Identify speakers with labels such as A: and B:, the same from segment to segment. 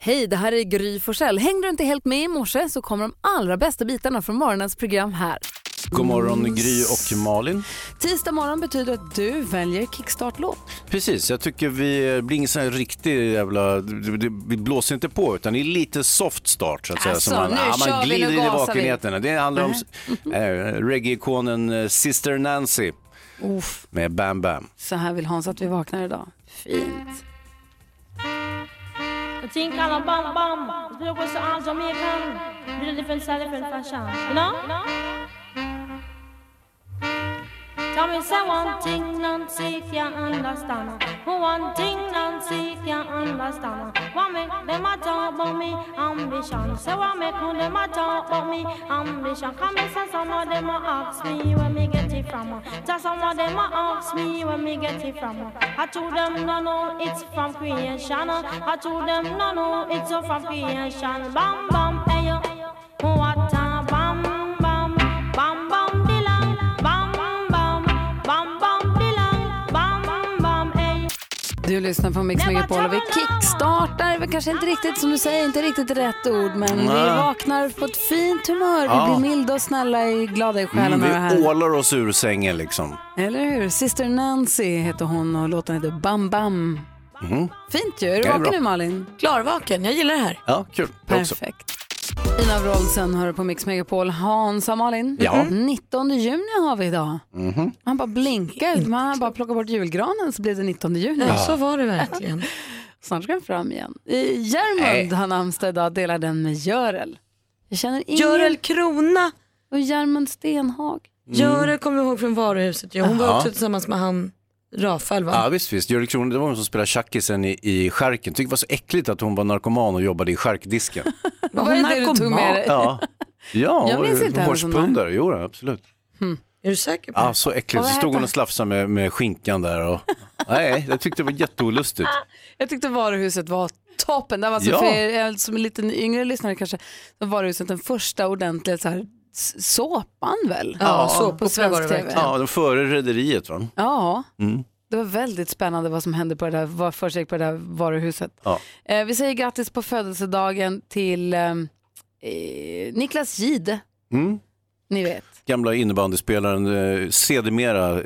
A: Hej, det här är Gry Forssell. Hängde du inte helt med i morse så kommer de allra bästa bitarna från morgonens program här.
B: God morgon Gry och Malin.
A: Tisdag morgon betyder att du väljer kickstart-låt.
B: Precis, jag tycker vi eh, blir ingen sån här riktig jävla... Vi blåser inte på utan det är lite soft start så att säga.
A: Alltså,
B: Så man,
A: nu kör
B: man
A: vi,
B: glider
A: nu
B: in i
A: gasar vi. Mm-hmm.
B: vakenheterna. Det handlar om eh, reggae-ikonen eh, Sister Nancy
A: Uff,
B: med Bam Bam. Mm,
A: så här vill Hans att vi vaknar idag. Fint.
C: Jag tänker alla bam bam, jag går så allt som jag kan. Blir det för sälja för en farsan, you know? Tell me say one thing Nancy can understand One thing Nancy can understand What make them a talk about me ambition Say what make all them a talk about me ambition Come and say some of them a ask me where me get it from Just some of them a ask me where me get it from I told them no no it's from creation I told them no no it's from creation Bam bam hey yo What a bam bam Bam bam dilang Bam bam Bam bam dilang Bam bam hey
A: Du lyssnar på Mix Megapol och vi kickstartar. Vi kanske inte riktigt, som du säger, inte riktigt rätt ord, men vi vaknar på ett fint humör. Vi
B: Ja. Mm,
A: blir milda och snälla, i- glada i själen av det
B: vi
A: här.
B: ålar oss ur sängen liksom.
A: Eller hur? Sister Nancy heter hon och låten heter Bam Bam.
B: Mm-hmm.
A: Fint ju. Är du
B: Ja,
A: vaken
B: bra.
A: nu, Malin?
D: Klarvaken, jag gillar det här.
B: Ja, kul. Jag också.
A: Perfekt. Ina Wroldsen hör på Mix Megapol. Hans och Malin,
B: Ja. Mm-hmm.
A: 19 juni har vi idag. Man bara blinkar, man bara plockar bort julgranen så blir det 19 juni.
D: Ja. Så var det verkligen.
A: Snart ska den fram igen. I Järmund har namnsdag idag, delar den med Görel. Jag känner ingen.
D: Görel Krona.
A: Och Järmund Stenhag.
D: Görel Mm. kommer vi ihåg från varuhuset. Ja, hon var också tillsammans med han Rafael va?
B: Ja visst, visst. Görel Kron, det var hon som spelade tjackisen i, i skärken. Tyckte det var så äckligt att hon var narkoman och jobbade i skärkdisken.
D: Var
A: Vad är
D: hon
A: det du tog med dig?
B: Ja, ja
A: Jag
B: hon
A: minns
B: var
A: inte henne som
B: hårspundare. Jo, absolut.
D: Är du säker på
B: Ja,
D: det?
B: så äckligt. Så
A: Vad
B: stod
A: heter
B: hon och slafsade med, med skinkan där. Och... Nej, jag tyckte det var jätteolustigt.
A: Ah, Jag tyckte varuhuset var toppen. Det var alltså
B: Ja.
A: för er som en liten yngre lyssnare kanske, så var varuhuset den första ordentliga så här, s- såpan väl?
D: Ja, såpopera
A: på
D: var det
A: svensk tv.
D: verkligen.
B: Ja, den före Rederiet va? Mm,
A: Ja, det var väldigt spännande vad som hände på det där, vad försiggick på det där varuhuset.
B: Ja.
A: Eh, vi säger grattis på födelsedagen till eh, eh, Niklas Gide.
B: Mm.
A: Ni vet.
B: Gamla innebandyspelaren, eh, sedermera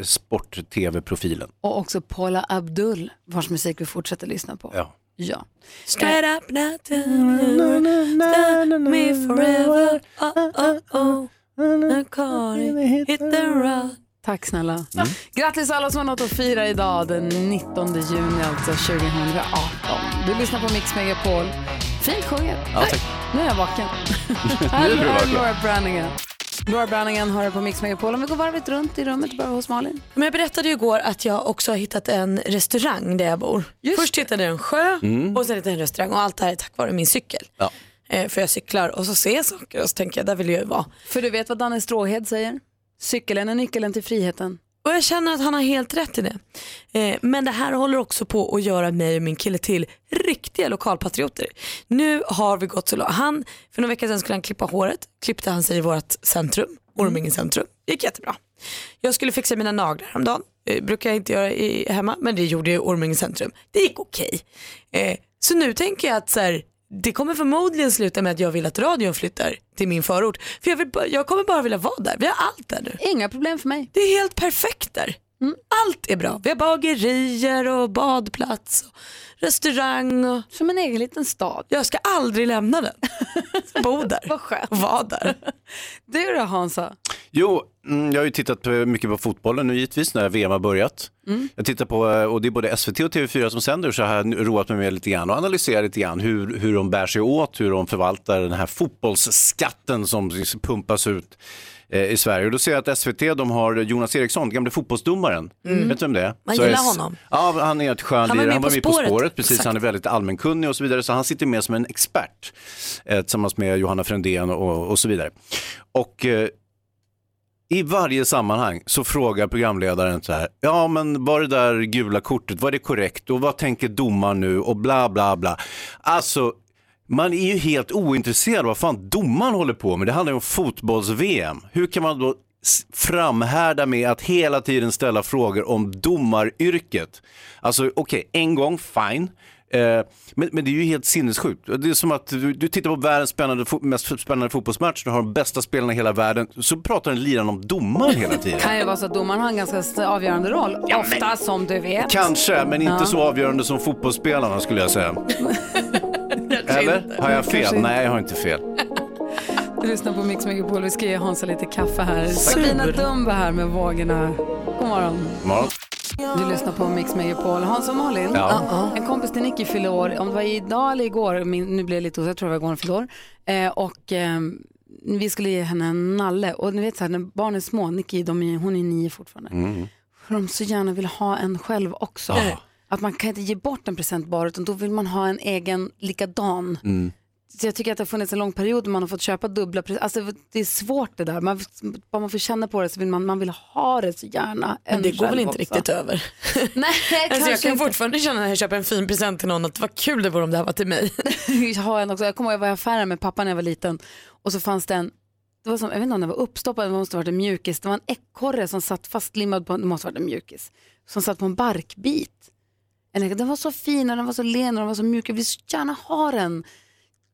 B: sport-tv-profilen.
A: Och också Paula Abdul, vars musik vi fortsätter lyssna på.
B: Ja.
A: Ja.
D: Straight up nothing, stand me forever, oh oh oh. The car hit the road.
A: Tack snälla.
B: Mm.
A: Grattis alla som har något att fira idag den 19 juni alltså 2018. Du lyssnar på Mix Megapol. Fint sjunget.
B: Ja, tack.
A: Nu är jag vaken. Här
B: du
A: är
B: vaken.
A: Laura Branningen. Laura Branningen hör på Mix Megapol. Om vi går varvet runt i rummet bara hos Malin.
D: Men jag berättade ju igår att jag också har hittat en restaurang där jag bor. Först hittade jag en sjö och sen hittade jag en restaurang och allt det här är tack vare min cykel.
B: Mm. Ja.
D: Eh, för jag cyklar och så ser jag saker och så tänker jag där vill jag ju vara.
A: För du vet vad Danne Stråhed säger? Cykeln är nyckeln till friheten.
D: Och jag känner att han har helt rätt i det. Eh, men det här håller också på att göra mig och min kille till riktiga lokalpatrioter. Nu har vi gått så långt. Han, för några veckor sedan skulle han klippa håret. Klippte han sig i vårt centrum, Orminge centrum. gick jättebra. Jag skulle fixa mina naglar häromdagen. Eh, brukar jag inte göra i, hemma, men det gjorde jag i Orminge centrum. Det gick okej. Eh, så nu tänker jag att så här, det kommer förmodligen sluta med att jag vill att radion flyttar till min förort. För jag, vill, bara- jag kommer bara vilja vara där. Vi har allt där nu.
A: Inga problem för mig. Mm.
D: Det är helt perfekt där. Allt är bra. Vi har bagerier och badplats och restaurang. Och
A: Som en egen liten stad.
D: jag ska aldrig lämna den. Bo där.
A: Vad skönt.
D: och Vara där.
A: Du då Hansa?
B: Jo, mm, jag har ju tittat på, mycket på fotbollen nu givetvis när VM har börjat.
D: Mm.
B: Jag tittar på, eh, och det är både SVT och TV4 som sänder, så jag har nu roat mig med lite grann och analyserat lite grann hur, hur de bär sig åt, hur de förvaltar den här fotbollsskatten som pumpas ut eh, i Sverige. Och då ser jag att SVT, de har Jonas Eriksson, gamle fotbollsdomaren. Vet du vem det är?
D: Mm. Man
B: Så jag
D: gillar
B: är-
D: honom.
B: Ja, han är ett skön
D: Han var
B: lirare.
D: med
B: Han var
D: På
B: med På
D: spåret.
B: spåret, precis.
D: Exakt.
B: Han är väldigt allmänkunnig och så vidare, så han sitter med som en expert eh, tillsammans med Johanna Frändén och, och så vidare. Och eh, i varje sammanhang så frågar programledaren så här, ja men var det där gula kortet, var det korrekt och vad tänker domaren nu och bla bla bla. Alltså, man är ju helt ointresserad av vad fan domaren håller på med. Det handlar ju om fotbolls-VM. Hur kan man då s- framhärda med att hela tiden ställa frågor om domaryrket? Alltså okej, en gång, fine. Eh, men, men det är ju helt sinnessjukt. Det är som att du, du tittar på världens spännande, fo- mest spännande fotbollsmatch, du har de bästa spelarna i hela världen, så pratar den liran om domaren hela tiden.
A: kan ju vara så att domaren har en ganska avgörande roll. Ofta som du vet.
B: Kanske, men inte
A: Ja.
B: så avgörande som fotbollsspelarna skulle jag säga. Eller? Har jag fel? Nej, jag har inte fel.
A: Du lyssnar på Mix Megapol. Vi ska ge Hansa lite kaffe här. Sabina Dumba här med vågorna. God morgon.
B: Morgon.
A: Du lyssnar på Mix Megapol. Hans och Malin,
B: Ja.
A: Uh-uh. en kompis till Nicky fyllde år, om det var idag eller igår, min, nu blir jag lite osäker, jag tror det var igår hon fyllde år. Eh, och ehm, vi skulle ge henne en nalle och ni vet så här, när barn är små, Nicky, de är, hon är nio fortfarande, för de så gärna vill ha en själv också.
B: Ja.
A: Att man kan inte ge bort en present bara, utan då vill man ha en egen likadan. Så jag tycker att det har funnits en lång period där man har fått köpa dubbla presenter. Alltså det är svårt det där. Man, bara man får känna på det så vill man, man vill ha det så gärna. en
D: Men det går väl
A: själv
D: inte
A: också.
D: riktigt över?
A: Nej,
D: Alltså jag
A: Eh, kanske
D: kan
A: inte.
D: fortfarande känna när jag köper en fin present till någon att vad kul det vore om det här var till mig.
A: ha en också. Jag kommer ihåg jag var i affären med pappa när jag var liten och så fanns det en, det var som, jag vet inte om den var uppstoppad, det måste ha varit en mjukis. Det var en ekorre som satt fastlimmad på, en- det måste ha varit en mjukis, som satt på en barkbit. En ekorre. Den var så fin och den var så len och den var så mjuk. Jag vill så gärna ha den.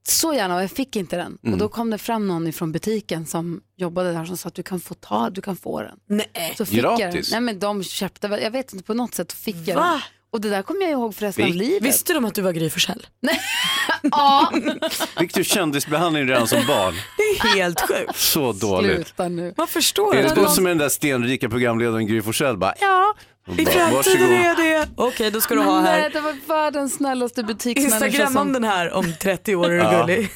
A: Så gärna och jag fick inte den. Och
B: Mm.
A: då kom det fram någon från butiken som jobbade där som sa att du kan få, ta, du kan få den.
D: Nej.
A: Så fick jag den.
B: Gratis?
A: Nej men de köpte, väl- jag vet inte på något sätt fick jag
D: Va?
A: den. Och det där kommer jag ihåg för resten av
B: Fick-
A: livet.
D: Visste de att du var Gry Forssell?
A: Ja,
B: Fick du kändisbehandling redan som barn?
D: Det är helt sjukt.
B: Så dåligt.
A: sluta nu.
D: Man förstår
B: Är det
D: att
B: du
D: någon...
B: som är den där stenrika programledaren Gry Forssell? Bara,
D: Ja, i
B: Bara,
D: framtiden
B: varsågod.
D: är jag det. Okej, då ska du ha
A: Nej,
D: här.
A: det var världens snällaste butiksmänniska.
D: Instagramma om
A: Som,
D: den här om 30 år är du
B: Ja.
D: gullig.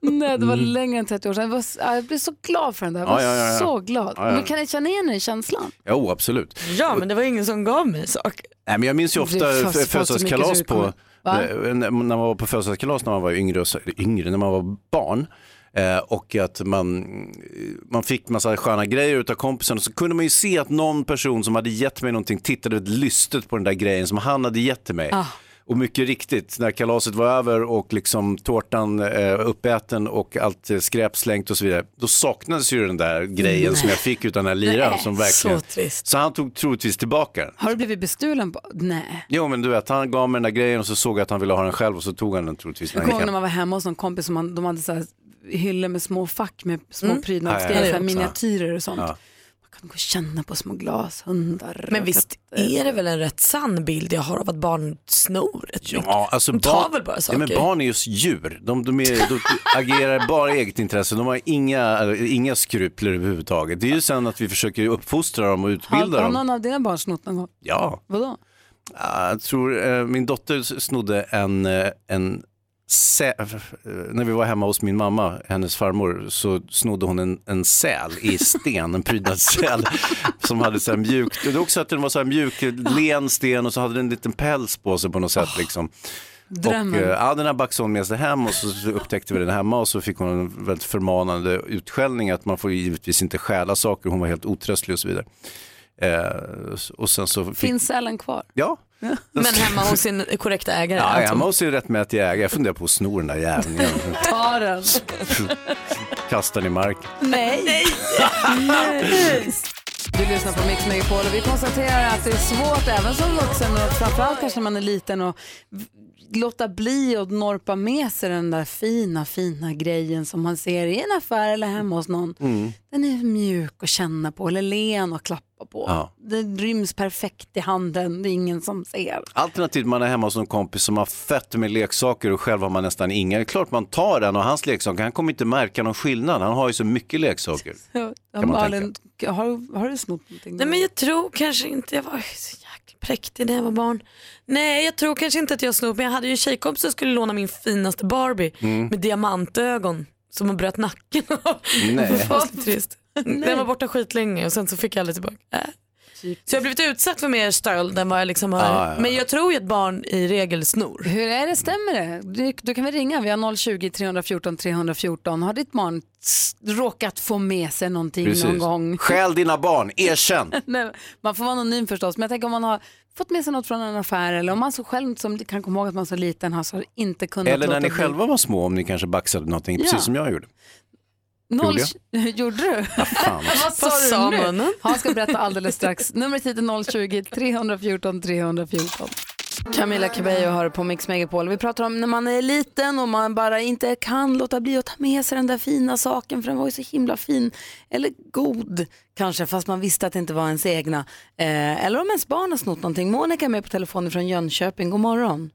A: nej, det var längre än 30 år sedan. Jag, var, ja, jag blev så glad för den där. Jag var
B: Mm. Ja, ja, ja, ja.
A: så glad.
B: Ja, ja.
A: Men kan ni känna igen den känslan?
B: jo absolut.
D: Ja, men det var ingen som gav mig saker.
B: Nej, men jag minns ju
A: Det
B: ofta
A: är fast-
B: fö-
A: fast så mycket så
B: födelsedagskalas
A: det
B: på,
A: kommer- Va?
B: eh, när man var på födelsedagskalas när man var yngre, och så- eller yngre när man var barn. Eh, och att man, man fick massa sköna grejer utav kompisen och så kunde man ju se att någon person som hade gett mig någonting tittade väldigt lystet på den där grejen som han hade gett till mig.
A: Ah.
B: Och mycket riktigt, när kalaset var över och liksom tårtan eh, uppäten och allt eh, skräp slängt och så vidare, då saknades ju den där grejen som jag fick utan den här liran. Som verkligen...
D: så trist.
B: så han tog troligtvis tillbaka den.
A: Har du blivit bestulen? på- Nej.
B: Jo men du vet, han gav mig den där grejen och så såg jag att han ville ha den själv och så tog han den troligtvis.
A: Jag
B: När
A: kommer
B: han
A: ihåg när
B: gick hem.
A: man var hemma hos någon kompis och man, de hade så här hyllor med små fack med små prydnadsgrejer,
B: Ja,
A: så
B: ja, ja.
A: här
B: Ja.
A: miniatyrer och sånt.
B: Ja.
A: Man kan gå och känna på små glas, hundar.
D: Men
A: och
D: visst
A: katter.
D: är det väl en rätt sann bild jag har av att barn snor rätt mycket.
B: Ja, alltså
D: De tar väl bara
B: Ja, men
D: saker?
B: barn är just djur. De, de, är, de agerar bara i eget intresse. De har inga, inga skrupler överhuvudtaget. Det är ju sen att vi försöker uppfostra dem och
A: Har,
B: utbilda
A: har
B: dem.
A: någon av dina barn snott någon gång?
B: Ja,
A: Vadå?
B: Ja, jag tror eh, min dotter s- snodde en, eh, en sä- eh, när vi var hemma hos min mamma, hennes farmor, så snodde hon en, en säl i sten, en prydnadssäl som hade så här mjukt, det var också att den var så här mjuk, len sten och så hade den en liten päls på sig på något sätt liksom.
A: Drömmen.
B: Och, eh, ja, den här baxade hon med sig hem och så upptäckte vi den hemma och så fick hon en väldigt förmanande utskällning att man får ju givetvis inte stjäla saker, hon var helt otröstlig och så vidare. Eh, och sen så fick,
A: Finns sälen kvar?
B: ja.
D: Men hemma hos sin korrekta ägare.
B: Ja,
D: alltså.
B: hemma hos sin rättmätiga ägare. Jag funderar på att sno den där jäveln igen.
A: Ta den.
B: Kasta den i marken.
A: Nej. Du lyssnar på Mix Megapol och vi konstaterar att det är svårt även som vuxen och framförallt kanske när man är liten och v- låta bli och norpa med sig den där fina, fina grejen som man ser i en affär eller hemma hos någon. Den är mjuk att känna på eller len att klappa på.
B: Ja.
A: Den ryms perfekt i handen, det är ingen som ser.
B: Alternativt man är hemma hos en kompis som har fett med leksaker och själv har man nästan inga. Det är klart man tar den och hans leksaker, han kommer inte märka någon skillnad. Han har ju så mycket leksaker. man
A: Malin, har, har du snott någonting?
D: Nej men jag tror kanske inte, jag var ju så jäkla präktig när jag var barn. Nej jag tror kanske inte att jag snor, men jag hade ju tjejkompis som skulle låna min finaste Barbie
B: Mm.
D: med diamantögon som hon bröt nacken av.
B: Nej.
D: Det var så trist. Den var borta skitlänge och sen så fick jag aldrig tillbaka. Äh. Så jag har blivit utsatt för mer stöld än vad jag liksom har.
B: Ah, Ja, ja.
D: Men jag tror ju att barn i regel snor.
A: Hur är det, stämmer det? Du, du kan väl ringa, vi har 020-314 314. Har ditt barn s- råkat få med sig någonting någon gång?
B: Stjäl dina barn, erkänn.
A: Nej, man får vara anonym förstås, men jag tänker om man har fått med sig något från en affär eller om man så själv som kan komma ihåg att man så liten har så inte kunnat
B: Eller
A: låta
B: när ni
A: bli.
B: själva var små, om ni kanske baxade någonting,
A: Ja.
B: precis som jag gjorde.
A: Noll...
B: Gjorde
A: Gjorde du?
B: Fan.
A: Vad
D: Vad
A: sa
D: sa
A: du nu?
D: munnen?
A: Han ska berätta alldeles strax. Numret hit är 020-314 314. Camila Cabello har på Mix Megapol. Vi pratar om när man är liten och man bara inte kan låta bli att ta med sig den där fina saken för den var ju så himla fin. Eller god kanske fast man visste att det inte var ens egna. Eh, eller om ens barn har snott någonting. Monica är med på telefonen från Jönköping. God morgon.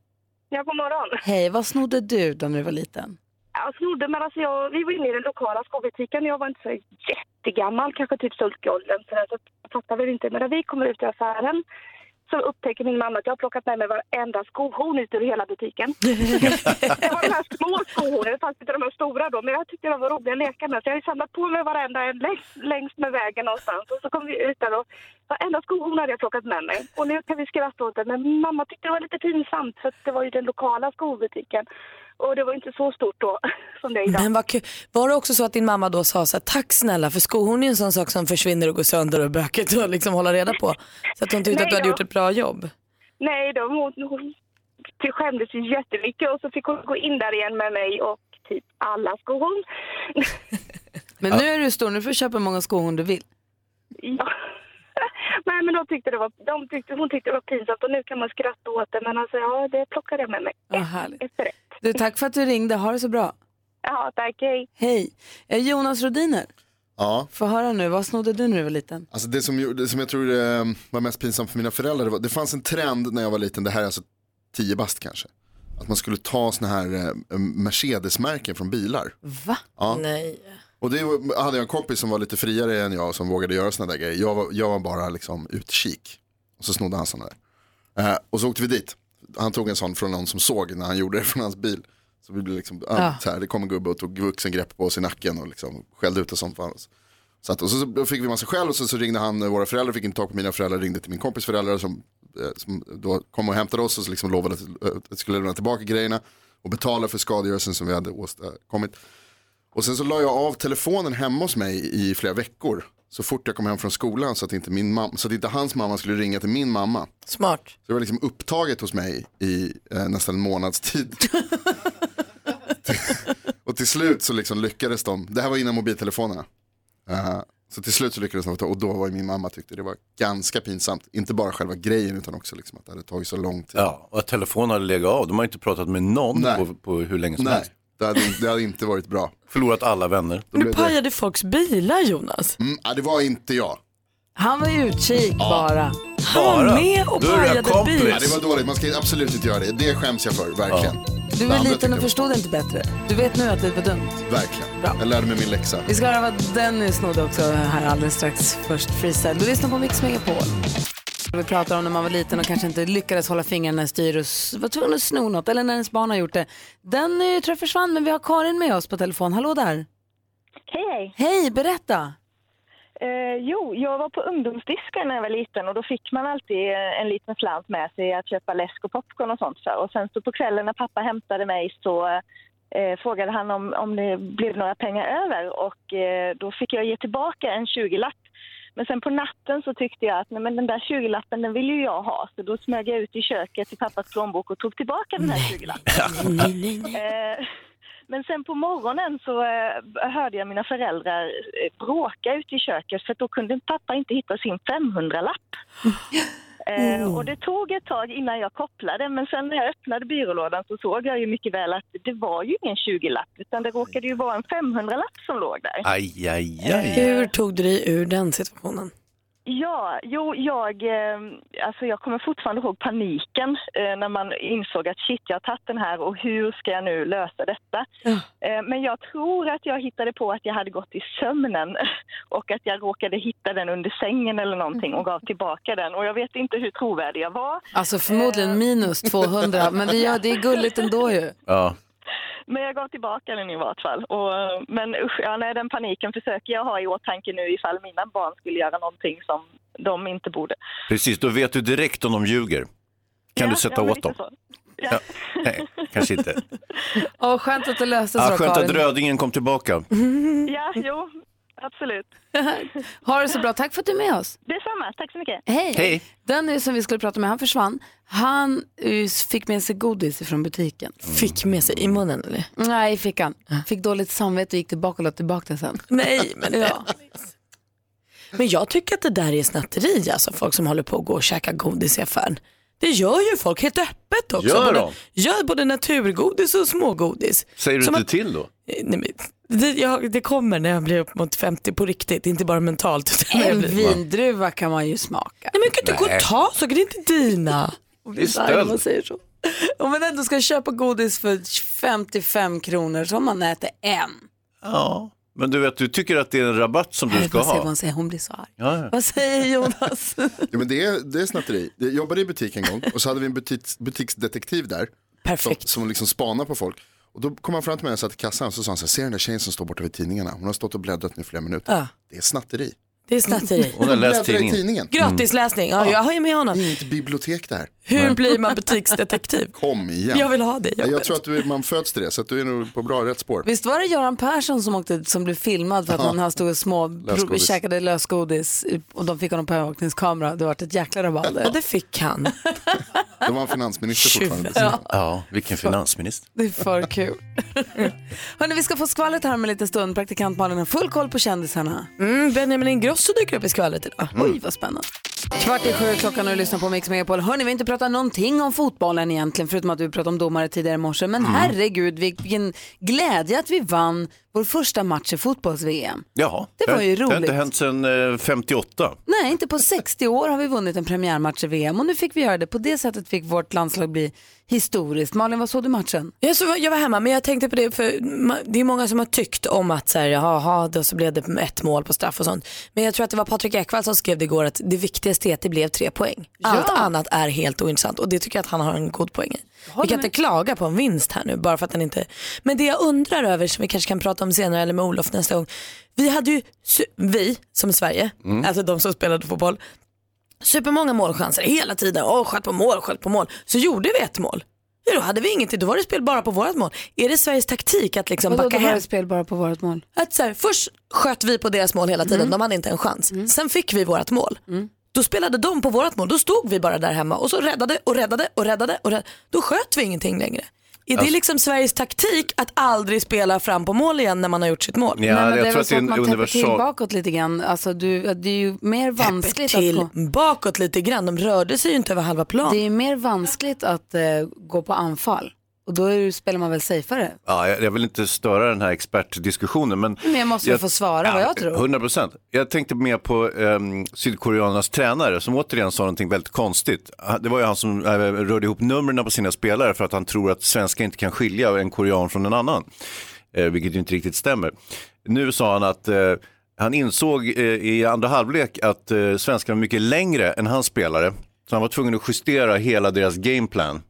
E: Ja, god morgon.
A: Hej, vad snodde du då när du var liten?
E: Jag snodde, men alltså jag, vi var inne i den lokala skobutiken. Jag var inte så jättegammal, kanske typ sulkåldern. Så där, så jag fattar väl inte. Men när vi kommer ut i affären så upptäcker min mamma att jag har plockat med mig varenda skohorn ut ur hela butiken. det var de här små skohornen, det fanns inte de här stora då, men jag tyckte de var roliga att leka med. Så jag hade samlat på mig varenda en längs, längs med vägen någonstans. Och så kom vi ut där och varenda skohorn hade jag plockat med mig. Och nu kan vi skratta åt det, men mamma tyckte det var lite pinsamt för att det var ju den lokala skobutiken. Och det var inte så stort då som det är idag.
D: Men vad kul. Var det också så att din mamma då sa så här, tack snälla för skohorn är en sån sak som försvinner och går sönder och böket att liksom hålla reda på. Så att hon
E: Nej
D: tyckte att du hade
E: då.
D: gjort ett bra jobb.
E: Nej, då, hon, hon ty- skämdes ju jättemycket och så fick hon gå in där igen med mig och typ alla skohorn.
A: Men nu är du stor, nu får du köpa hur många skohorn du vill.
E: Ja. Nej, men de tyckte det var, de tyckte, hon tyckte det var pinsamt och nu kan man skratta åt det. Men alltså, ja, det plockade jag med mig.
A: Vad härligt.
E: Efter det.
A: Du, tack för att du ringde, ha det så bra.
E: Ja, tack. Hej.
A: Hej. Eh, Jonas Rodiner,
F: Ja,
A: få höra nu, vad snodde du när du var liten?
F: alltså det som, gjorde- det som jag tror eh, var mest pinsamt för mina föräldrar, det, var, det fanns en trend när jag var liten, det här är alltså tio bast kanske. Att man skulle ta såna här eh, Mercedes-märken från bilar.
A: Va?
D: Nej.
F: Och det var- hade jag en kompis som var lite friare än jag som vågade göra sådana där grejer. Jag var, jag var bara liksom utkik. Och så snodde han sådana där. Eh, och så åkte vi dit. Han tog en sån från någon som såg när han gjorde det från hans bil. Så vi blev liksom, ah, så här, det kom en gubbe och tog vuxengrepp på oss i nacken och liksom skällde ut oss som fan. Så, att, och så, så då fick vi massa skäll och så, så ringde han eh, våra föräldrar, fick inte tag på mina föräldrar, ringde till min kompis föräldrar som, eh, som då kom och hämtade oss och så liksom lovade att, eh, att skulle lämna tillbaka grejerna och betala för skadegörelsen som vi hade åstadkommit. Och sen så la jag av telefonen hemma hos mig i flera veckor. Så fort jag kom hem från skolan så att inte, min mam- så att inte hans mamma skulle ringa till min mamma.
D: Smart.
F: Så det var liksom upptaget hos mig i eh, nästan en månads tid. och till slut så liksom lyckades de, det här var innan mobiltelefonerna. Eh, så till slut så lyckades de få tag- och då var ju min mamma tyckte det var ganska pinsamt. Inte bara själva grejen utan också liksom att det hade tagit så lång tid.
B: Ja, och att telefonen hade legat av. De har inte pratat med någon
F: Nej.
B: på, på hur länge som
F: Nej,
B: helst.
F: det hade, det hade inte varit bra.
B: Förlorat alla vänner.
F: Då
D: Du
F: blev det,
D: pajade folks bilar Jonas.
F: mm, ja, det var inte jag.
A: Han var ju utkik bara.
D: Han var
B: Bara.
D: med och
B: Då är det
D: pajade
B: kompis.
F: Ja,
D: bilar.
F: det var dåligt, man ska absolut inte göra det. Det skäms jag för, verkligen.
A: Du
F: Det
A: var
F: andra
A: liten och
F: tyckte
A: förstod inte bättre. Du vet nu att det var dumt.
F: jag var- Verkligen. Jag lärde mig min läxa.
A: Vi ska höra vad Dennis snodde också här alldeles strax. Först Freestyle. Du lyssnar på Mix Megapol. Vi pratar om när man var liten och kanske inte lyckades hålla fingrarna i styr och s- var tvungen att sno något. Eller när ens barn har gjort det. Den eh, tror jag försvann men vi har Karin med oss på telefon. Hallå där.
G: Hej, hej.
A: Hej, berätta.
G: Eh, jo, jag var på ungdomsdisken när jag var liten och då fick man alltid eh, en liten slant med sig att köpa läsk och popcorn och sånt för. Och sen så på kvällen när pappa hämtade mig så eh, frågade han om, om det blev några pengar över och eh, då fick jag ge tillbaka en 20-lapp. Men sen på natten så tyckte jag att nej, men den där 20-lappen den vill ju jag ha så då smög jag ut i köket i pappas plånbok och tog tillbaka den här 20-lappen.
D: Nej, nej, nej.
G: Eh, Men sen på morgonen så eh, hörde jag mina föräldrar eh, bråka ute i köket för då kunde pappa inte hitta sin 500-lapp. Eh,
D: Oh.
G: Och det tog ett tag innan jag kopplade men sen när jag öppnade byrålådan så såg jag ju mycket väl att det var ju ingen 20-lapp utan det råkade ju vara en 500-lapp som låg där.
B: Aj, aj, aj.
D: Hur tog du dig ur den situationen?
G: Ja, jo, jag, eh, alltså jag kommer fortfarande ihåg paniken eh, när man insåg att shit, jag har tagit den här och hur ska jag nu lösa detta? Eh, men jag tror att jag hittade på att jag hade gått i sömnen och att jag råkade hitta den under sängen eller någonting och gav tillbaka den. Och jag vet inte hur trovärdig jag var,
A: Alltså förmodligen minus 200 men det, gör, det är gulligt ändå ju.
B: Ja.
G: men jag gav tillbaka den i vart fall. Och, eh, men usch, ja, nej, den paniken försöker jag ha i åtanke nu ifall mina barn skulle göra någonting som de inte borde.
B: Precis, då vet du direkt om de ljuger.
G: Ja,
B: Kan du sätta
G: ja, men
B: åt
G: lite
B: dem?
G: så.
B: Ja. Nej, kanske inte.
A: Åh, skönt att det löste sig
B: Ah,
A: då
B: skönt att
A: Karin.
B: rödingen kom tillbaka.
G: Ja, jo, absolut.
A: Ha det så bra. Tack för att du är med oss.
G: Detsamma, tack så mycket.
A: Hej.
B: Hej.
A: Den som vi skulle prata med, han försvann. Han eh, fick med sig godis från butiken.
B: Mm.
D: Fick med sig i munnen eller?
A: Nej, fick han. Fick dåligt samvete och gick tillbaka och la tillbaka det sen.
D: Nej, men ja. Men jag tycker att det där är snatteri, alltså folk som håller på att gå och käka godis i affären. Det gör ju folk helt öppet också.
B: Gör
D: både,
B: de?
D: gör både naturgodis och smågodis.
B: Säger du
D: Som
B: inte
D: att-
B: till då?
D: Eh, Nej, men, det, jag, det kommer när jag blir upp mot 50 på riktigt, inte bara mentalt. Utan när jag
A: En
D: blir...
A: vindruva kan man ju smaka.
D: Nej men kan du gå
B: Nej.
D: och ta saker, det är inte dina.
B: Det är
A: Där, om man
B: stöld.
A: säger så. Om man ändå ska köpa godis för 55 kronor så har man ätit en.
B: Ja. Men du vet, du tycker att det är en rabatt som du
A: Nej,
B: ska
A: vad säger
B: ha.
A: hon? Säger, hon blir så arg.
B: Ja, ja.
A: Vad säger Jonas?
F: Ja, men det, är, det är snatteri. Jag jobbade i butik en gång och så hade vi en butiks, butiksdetektiv där som,
D: Perfekt.
F: som liksom spanar på folk. Och då kom han fram till mig och satt i kassan och så sa han så här, ser den där tjejen som står borta vid tidningarna? Hon har stått och bläddrat nu i flera minuter.
D: Ja,
F: Det är snatteri.
D: det är snatteri.
B: Hon har läst
F: Bläddra i tidningen.
B: tidningen.
D: Gratisläsning,
A: Mm.
D: ja, jag har ju med
F: Det
D: honom.
F: är inget bibliotek där.
D: Hur blir man butiksdetektiv?
F: Kom igen.
D: Jag
F: Jag,
D: vill ha det
F: jag
D: jobbet.
F: tror att du, man föds till det så att du är nog på bra rätt spår.
A: Visst var det Göran Persson som, åkte, som blev filmad för att han han stod och små, prov,
F: Lösgodis.
A: käkade lösgodis i- och de fick honom på övervakningskamera. Det var ett jäkla
D: Ja,
A: rabalder.
D: det fick han.
F: Då var han finansminister
D: Tjuv.
F: fortfarande.
B: Ja, vilken finansminister.
A: Det är för kul. Hörrni, vi ska få skvallret här om en liten stund. Praktikant Malin har full koll på kändisarna.
D: Mm, Benjamin Ingrosso dyker upp i skvallret idag.
B: Mm.
A: Oj, vad spännande. Kvart i sju är klockan och du lyssnar på Mix Megapol. Hörni, vi har inte pratat någonting om fotbollen egentligen, förutom att vi pratade om domare tidigare i morse. Men herregud, vilken glädje att vi vann vår första match i fotbolls-VM.
B: Jaha,
A: Det var ju
B: Det har inte
A: roligt.
B: hänt sedan eh, 58.
A: Nej, inte på 60 år har vi vunnit en premiärmatch i VM och nu fick vi göra det. På det sättet fick vårt landslag bli historiskt. Malin, vad såg du matchen?
D: Jag, så, jag var hemma men jag tänkte på det för ma- det är många som har tyckt om att så här, jaha, då så blev det ett mål på straff och sånt. Men jag tror att det var Patrik Ekwall som skrev det igår att det viktigaste är att det blev tre poäng. Allt annat är helt ointressant och det tycker jag att han har en god poäng i. Vi kan inte klaga på en vinst här nu bara för att den inte... Men det jag undrar över som vi kanske kan prata om senare eller med Olof nästa gång. Vi hade ju, su- vi som Sverige, alltså de som spelade fotboll, supermånga målchanser hela tiden. Åh, sköt på mål, sköt på mål. Så gjorde vi ett mål. Ja, då hade vi ingenting, då var det spel bara på vårat mål. Är det Sveriges taktik att liksom
A: Vadå,
D: backa
A: det var
D: hem?
A: ett spel bara på vårt mål. Mm.
D: Att så här, först sköt vi på deras mål hela tiden, de hade inte en chans. Sen fick vi vårat mål. Då spelade de på vårat mål, då stod vi bara där hemma och så räddade och räddade och räddade. Och räddade. Då sköt vi ingenting längre. Är
B: Alltså-
D: det liksom Sveriges taktik att aldrig spela fram på mål igen när man har gjort sitt mål?
B: Ja,
A: men
B: jag
A: det är
B: tror
A: väl
B: att det
A: så
B: är
A: att
B: en
A: man täpper till
B: universal...
A: bakåt lite grann. Alltså, du, det är ju mer vanskligt att
D: till
A: gå.
D: bakåt lite grann, de rörde sig ju inte över halva plan.
A: Det är ju mer vanskligt att eh, gå på anfall. Och då är, det- spelar man väl safeare.
B: Ja, jag jag vill inte störa den här expertdiskussionen, men...
A: Men jag måste väl få svara vad jag tror.
B: 100 procent. Jag tänkte mer på um, Sydkoreanernas tränare som återigen sa någonting väldigt konstigt. Han- Det var ju han som eh, rörde ihop numren på sina spelare för att han tror att svenskar inte kan skilja en korean från en annan. Eh, vilket ju inte riktigt stämmer. Nu sa han att eh, han insåg eh, i andra halvlek att eh, svenskarna var mycket längre än hans spelare. Så han var tvungen att justera hela deras gameplan.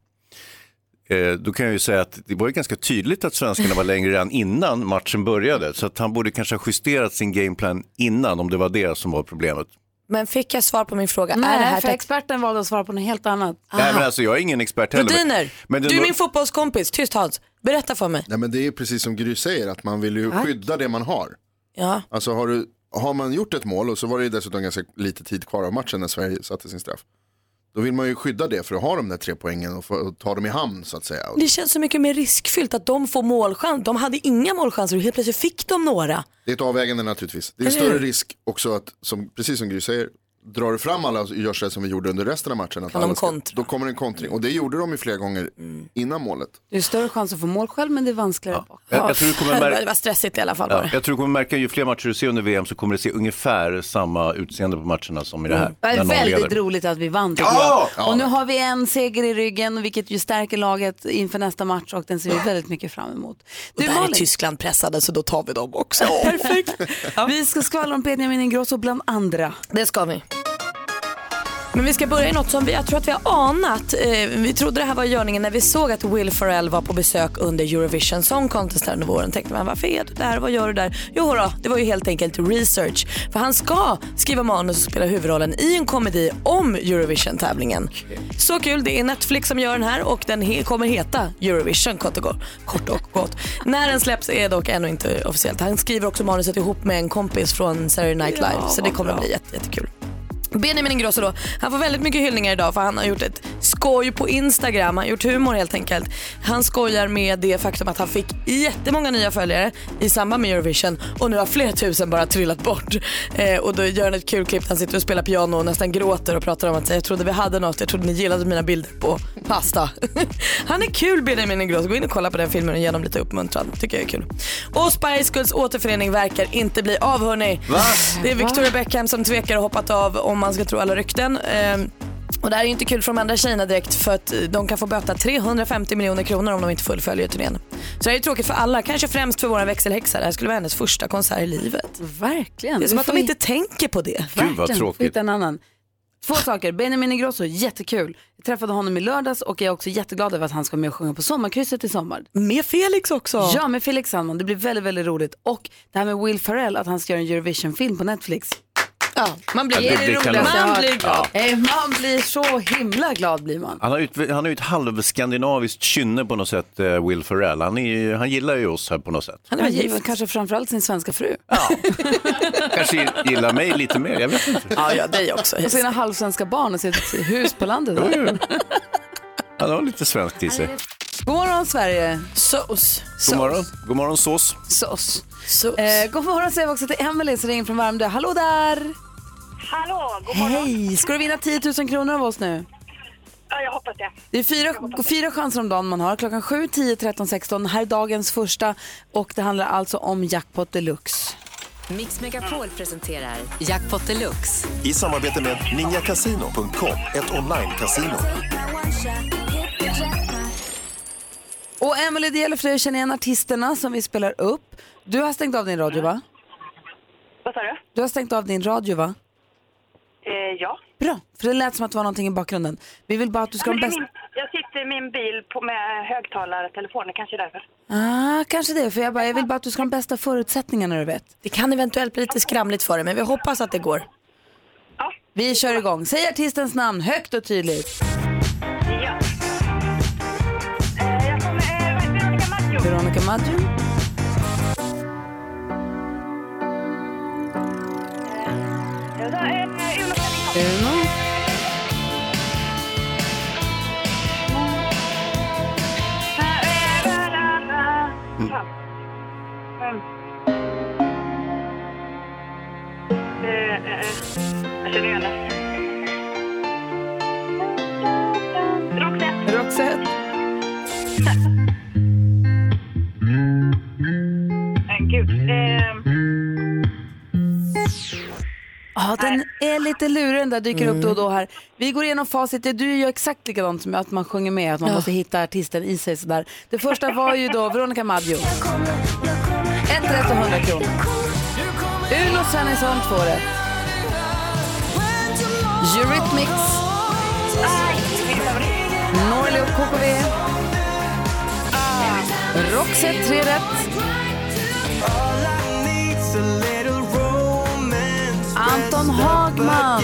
B: Eh, då kan jag ju säga att det var ju ganska tydligt att svenskarna var längre redan innan matchen började. Så att han borde kanske ha justerat sin gameplan innan om det var det som var problemet.
D: Men fick jag svar på min fråga? är det
A: Nej,
D: här
A: för
D: taktik?
A: experten valde att svara på något helt annat.
D: Ah.
B: Nej men alltså jag är ingen expert heller. men-
D: Rhodiner,
B: men det
D: du är
B: lå-
D: min fotbollskompis. Tyst Hans, berätta för mig.
F: Nej, men det är precis som Gry säger, att man vill ju skydda det man har.
D: Ja.
F: Alltså har, du, har man gjort ett mål och så var det ju dessutom ganska lite tid kvar av matchen när Sverige satte sin straff. Då vill man ju skydda det för att ha de där tre poängen och, få, och ta dem i hamn så att säga. Och
D: Det känns så mycket mer riskfyllt att de får målchans. De hade inga målchanser och helt plötsligt fick de några.
F: det är ett avvägande naturligtvis. Det är en
D: Eller hur?
F: större risk också att, som, precis som Gry säger, drar du fram alla och gör så som vi gjorde under resten av matchen. Att
D: Kan de
F: alla ska-
D: kontra?
F: Då kommer en kontring och det gjorde de ju flera gånger
A: Mm.
F: innan målet.
A: Det är större chans att få mål själv men det är vanskligare bak.
B: jag, jag tror du kommer
D: Det var-
B: märka...
D: det var stressigt i alla fall. var
B: Ja,
D: det.
B: jag tror du kommer märka ju fler matcher du ser under VM så kommer du se ungefär samma utseende på matcherna som i det
D: Mm.
B: här.
A: Det är
B: när någon
A: väldigt
B: leder.
A: roligt att vi vann tycker
D: Ah!
B: Ja!
A: jag. Och nu har vi en seger i ryggen vilket ju stärker laget inför nästa match och den ser vi väldigt mycket fram emot.
D: Och
A: Du
D: där är
A: Malin,
D: Tyskland pressade så då tar vi dem också.
A: perfekt. Vi ska skvallra om Benjamin Ingrosso bland andra.
D: Det ska vi. Men vi ska börja i något som vi, jag tror att vi har anat. Eh, vi trodde det här var görningen när vi såg att Will Ferrell var på besök under Eurovision Song Contest här under våren. Tänkte man varför är du där? Vad gör du där? Jo då, det var ju helt enkelt research. För han ska skriva manus och spela huvudrollen i en komedi om Eurovision-tävlingen. Så kul, det är Netflix som gör den här och den he- kommer heta Eurovision kort och gott. Kort och gott. När den släpps är dock ännu inte officiellt. Han skriver också manuset ihop med en kompis från Saturday Night Live så det kommer bli jätte, jättekul. Benjamin Ingrosso då, han får väldigt mycket hyllningar idag för han har gjort ett skoj på Instagram, han har gjort humor helt enkelt. Han skojar med det faktum att han fick jättemånga nya följare i samband med Eurovision och nu har flera tusen bara trillat bort. Eh, och då gör han ett kul klipp där han sitter och spelar piano och nästan gråter och pratar om att jag trodde vi hade något, jag trodde ni gillade mina bilder på pasta. han är kul Benjamin Ingrosso, gå in och kolla på den filmen och ge dem lite uppmuntran, tycker jag är kul. Och Spice Girls återförening verkar inte bli av hörni. Det är Victoria Beckham som tvekar och hoppat av om man ska tro alla rykten. Ehm, Och det här är ju inte kul för de andra tjejerna direkt för att de kan få böta 350 miljoner kronor om de inte fullföljer turnén. Så det här är ju tråkigt för alla, kanske främst för vår växelhäxa. Det här skulle vara hennes första konsert i livet.
A: Verkligen.
D: Det är som
A: Vi
D: att
A: får
D: de
A: hit-
D: inte tänker på det.
B: Gud, vad
A: Verkligen.
B: tråkigt.
A: Får hitta en annan. Två saker, Benjamin Ingrosso, jättekul. Jag träffade honom i lördags och jag är också jätteglad över att han ska med och sjunga på Sommarkrysset i sommar.
D: Med Felix också.
A: Ja, med Felix Sandman, det blir väldigt, väldigt roligt. Och det här med Will Ferrell, att han ska göra en Eurovision-film på Netflix.
D: Ja, man blir,
B: Ja, det- det kan
A: roligaste
B: låta-
A: jag
D: man
A: har
D: blir
A: hört.
D: glad. Eh,
A: Nej, Man blir så himla glad blir man.
B: Han har, ut, han har ju ett halvskandinaviskt kynne på något sätt, eh, Will Ferrell. Han, är, ju- han gillar ju oss här på något sätt.
D: Han är
A: Han
D: väl
A: gift.
D: gift.
A: Kanske framförallt sin svenska fru.
B: Kanske gillar mig lite mer, jag vet inte.
D: Ja, ja, dig också.
A: Och sina halvsvenska barn och sitt hus på landet.
B: Jo, jo. Han har lite svenskt i sig.
A: God morgon Sverige.
D: Sås.
B: God morgon, God morgon sås.
A: Sås.
D: Sås.
A: Eh, god morgon säger vi också till Emelie som ringer från Värmdö. Hallå där!
E: Hallå, god
A: Hej! Ska du vinna 10 000 kronor av oss nu?
E: Ja, jag hoppas det.
A: Det är fyra, fyra chanser om dagen man har. Klockan 7, 10, 13, 16. Här är dagens första och det handlar alltså om jackpot deluxe.
H: Mix Megapol presenterar Jackpot Deluxe.
I: I samarbete med ninjacasino.com, ett online-casino.
A: Och Emelie, det gäller för dig att känna igen artisterna som vi spelar upp. Du har stängt av din radio va?
E: Vad sa du?
A: Du har stängt av din radio va?
E: Eh, ja.
A: Bra, för det lät som att det var någonting i bakgrunden. Vi vill bara att du ska ha
E: Men
A: de
E: det är
A: bästa...
E: min, jag sitter i min bil på, med högtalartelefoner, kanske därför.
A: Ah, kanske det. För jag, bara, jag vill bara att du ska ha de bästa förutsättningarna du vet.
D: Det kan eventuellt bli lite skramligt för dig, men vi hoppas att det går.
E: Ja.
A: Vi kör igång. Säg artistens namn högt och tydligt.
E: ja. Eh, jag kommer... Eh, vad heter Veronica Maggio?
A: Veronica Maggio.
E: Jag sa, eh, Uno Fredriksson.
A: Uno.
C: Mm.
E: Eh, eh, la, la. Fan. Mm. Eh, eh, eh. Jag känner igen det. Roxette.
A: Roxette.
E: Eh, Gud. Eh,
A: Ja, den är lite lurig den där dyker upp då och då här. Vi går igenom facit. Du gör exakt likadant som jag, att man sjunger med, att man måste hitta artisten i sig sådär. Det första var ju då Veronica Maggio. Ett rätt och 100 kronor. Uno Svenningsson, två rätt. Eurythmics. Norli och KKV. Roxette, tre rätt. Anton Hagman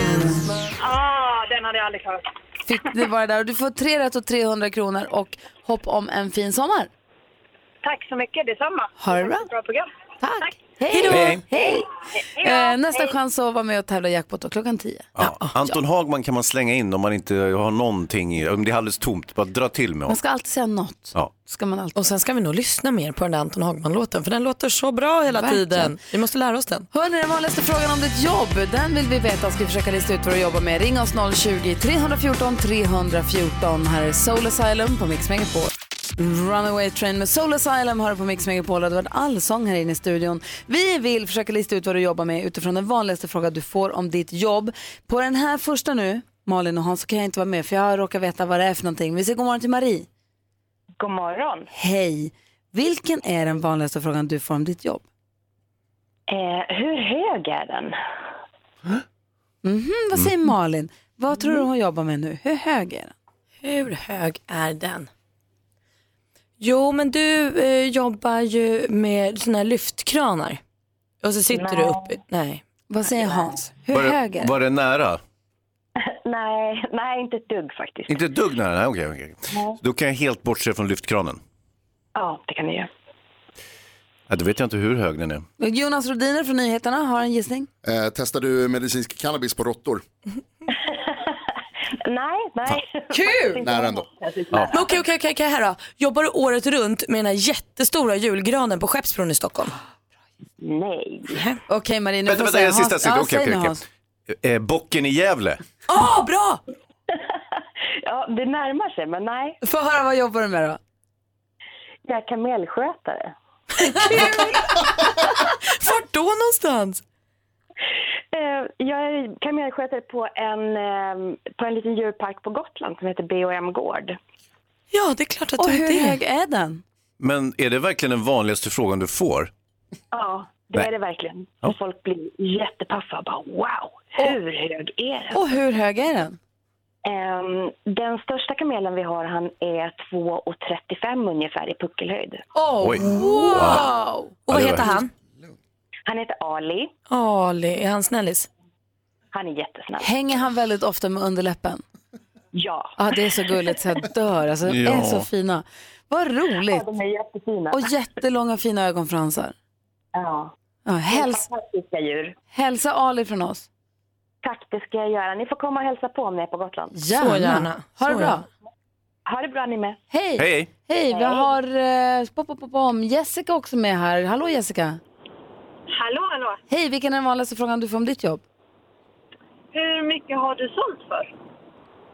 E: ah, den hade jag aldrig klarat.
A: fick det vara där. Och du får tre rätt och 300 kronor och hopp om en fin sommar.
E: Tack så mycket, detsamma.
A: Ha det bra.
E: Bra program.
A: Tack.
E: Tack.
A: Hej då.
B: Hej.
A: Hej.
E: Hej då.
A: Eh, nästa
E: Hej.
A: chans att vara med och tävla i jackpot då, klockan 10.
B: Ja. Anton Hagman kan man slänga in om man inte har någonting i, om det är alldeles tomt, bara dra till med
A: Man
B: honom.
A: ska alltid säga något.
B: Ja.
A: Ska man alltid.
D: Och sen ska vi nog lyssna mer på den där Anton Hagman-låten för den låter så bra hela
A: Verkligen.
D: tiden. Vi måste lära oss den.
A: Hörrni, den vanligaste frågan om ditt jobb, den vill vi veta. Ska vi försöka lista ut vad du jobbar med? Ring oss 020-314 314. Här är Soul Asylum på Mix Megapol. Runaway Train med Soul Asylum har du på Mix Megapol och det har varit allsång här inne i studion. Vi vill försöka lista ut vad du jobbar med utifrån den vanligaste frågan du får om ditt jobb. På den här första nu, Malin och Hans, så kan jag inte vara med för jag råkar veta vad det är för någonting. Vi säger god morgon till Marie.
G: God morgon.
A: Hej! Vilken är den vanligaste frågan du får om ditt jobb?
G: Eh, hur hög är den?
A: Mm, vad säger Malin? Vad tror du hon jobbar med nu? Hur hög är den?
D: Mm. Hur hög är den? Jo, men du eh, jobbar ju med såna här lyftkranar. Och så sitter du uppe. Nej.
A: Vad säger Hans? Hur
B: Var
A: hög
B: det,
A: är den?
B: var det nära?
G: Nej, nej inte ett dugg faktiskt.
B: Inte ett dugg nära? Nej, okej. okej. Då kan jag helt bortse från lyftkranen.
G: Ja, det kan ni göra.
B: Ja, då vet jag inte hur hög den är.
A: Jonas Rodiner från Nyheterna har en gissning.
F: Eh, testar du medicinsk cannabis på råttor?
G: Nej, nej.
D: Kul!
F: Nära ändå.
B: Ja.
D: Men okej, okej, okej, okej här då. Jobbar du året runt med den här jättestora julgranen på Skeppsbron i Stockholm?
G: Nej.
A: Okej Marie, nu
B: Vänta,
A: får
B: vänta,
A: säga
B: en sista.
A: Hans-
B: sista.
A: Ja, säg
B: Okej,
A: nu,
B: okej, okej.
A: Hans.
B: Eh, bocken i Gävle.
D: Ah, bra!
G: Ja, det närmar sig, men nej.
A: Få höra, vad jobbar du med då?
G: Jag är kamelskötare.
D: Vart då någonstans?
G: Eh, Jag är kamelskötare på en, eh, på en liten djurpark på Gotland som heter BOM Gård.
D: Ja, det är klart att
A: Och
D: du
A: hur
D: inte är.
A: hög är den?
B: Men är det verkligen den vanligaste frågan du får?
G: Ja, det
B: Nej.
G: är det verkligen.
B: Ja.
G: Och Folk blir jättepaffa och bara wow, hur hög är den?
A: Och hur hög är den?
G: Ehm, den största kamelen vi har han är 2,35 ungefär i puckelhöjd.
A: Oh,
B: Oj.
A: Wow!
D: Och vad
B: Ja, det
D: heter
B: var-
D: han?
G: Han heter Ali.
D: Ali, är han snällis?
G: Han är jättesnäll.
A: Hänger han väldigt ofta med underläppen?
G: Ja.
A: Ja, det är så gulligt så jag dör. Alltså, de är
B: Ja.
A: så fina. Vad roligt!
G: ja, de är jättefina.
A: Och jättelånga fina ögonfransar.
G: Ja.
A: Ja, häls
G: Fantastiska djur.
A: hälsa Ali från oss.
G: Tack, det ska jag göra. Ni får komma och hälsa på om ni är på Gotland.
A: Gärna.
D: Så gärna.
A: Ha det
D: Så
A: bra.
D: gärna.
G: Ha det bra ni med.
A: Hej!
B: Hej, hej.
A: Hej, vi har eh, pop, pop, pop, om Jessica också med här. Hallå Jessica!
E: Hallå, hallå.
A: Hej, vilken är den vanligaste frågan du får om ditt jobb?
E: Hur mycket har du sålt för?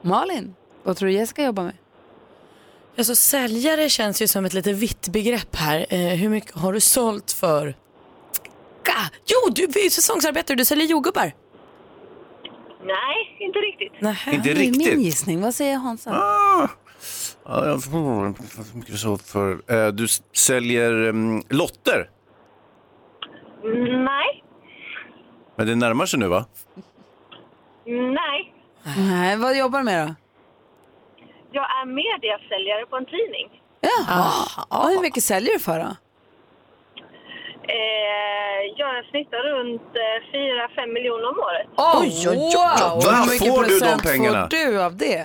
A: Malin, vad tror du Jessica jobbar med?
D: Alltså säljare känns ju som ett lite vitt begrepp här. Eh, hur mycket har du sålt för? Ka! Jo, du är ju säsongsarbetare, du säljer jordgubbar.
E: Nej, inte riktigt.
D: Nähä.
B: Inte
A: Det är min
B: riktigt.
A: gissning. Vad säger Hansa?
B: Ja, jag får mycket så för. Eh, Du s- säljer mm, lotter.
E: Nej,
B: Men det närmar sig nu va?
E: nej.
A: Nej, vad jobbar du med då?
E: Jag är mediasäljare på en tidning.
A: Jaha. Ja, hur mycket säljer du för då?
E: Eh, jag snittar runt eh, 4-5 miljoner om året.
A: oj, oj, oj!
B: Var
A: Hur mycket
B: får du de
A: procent
B: pengarna?
A: får du av det?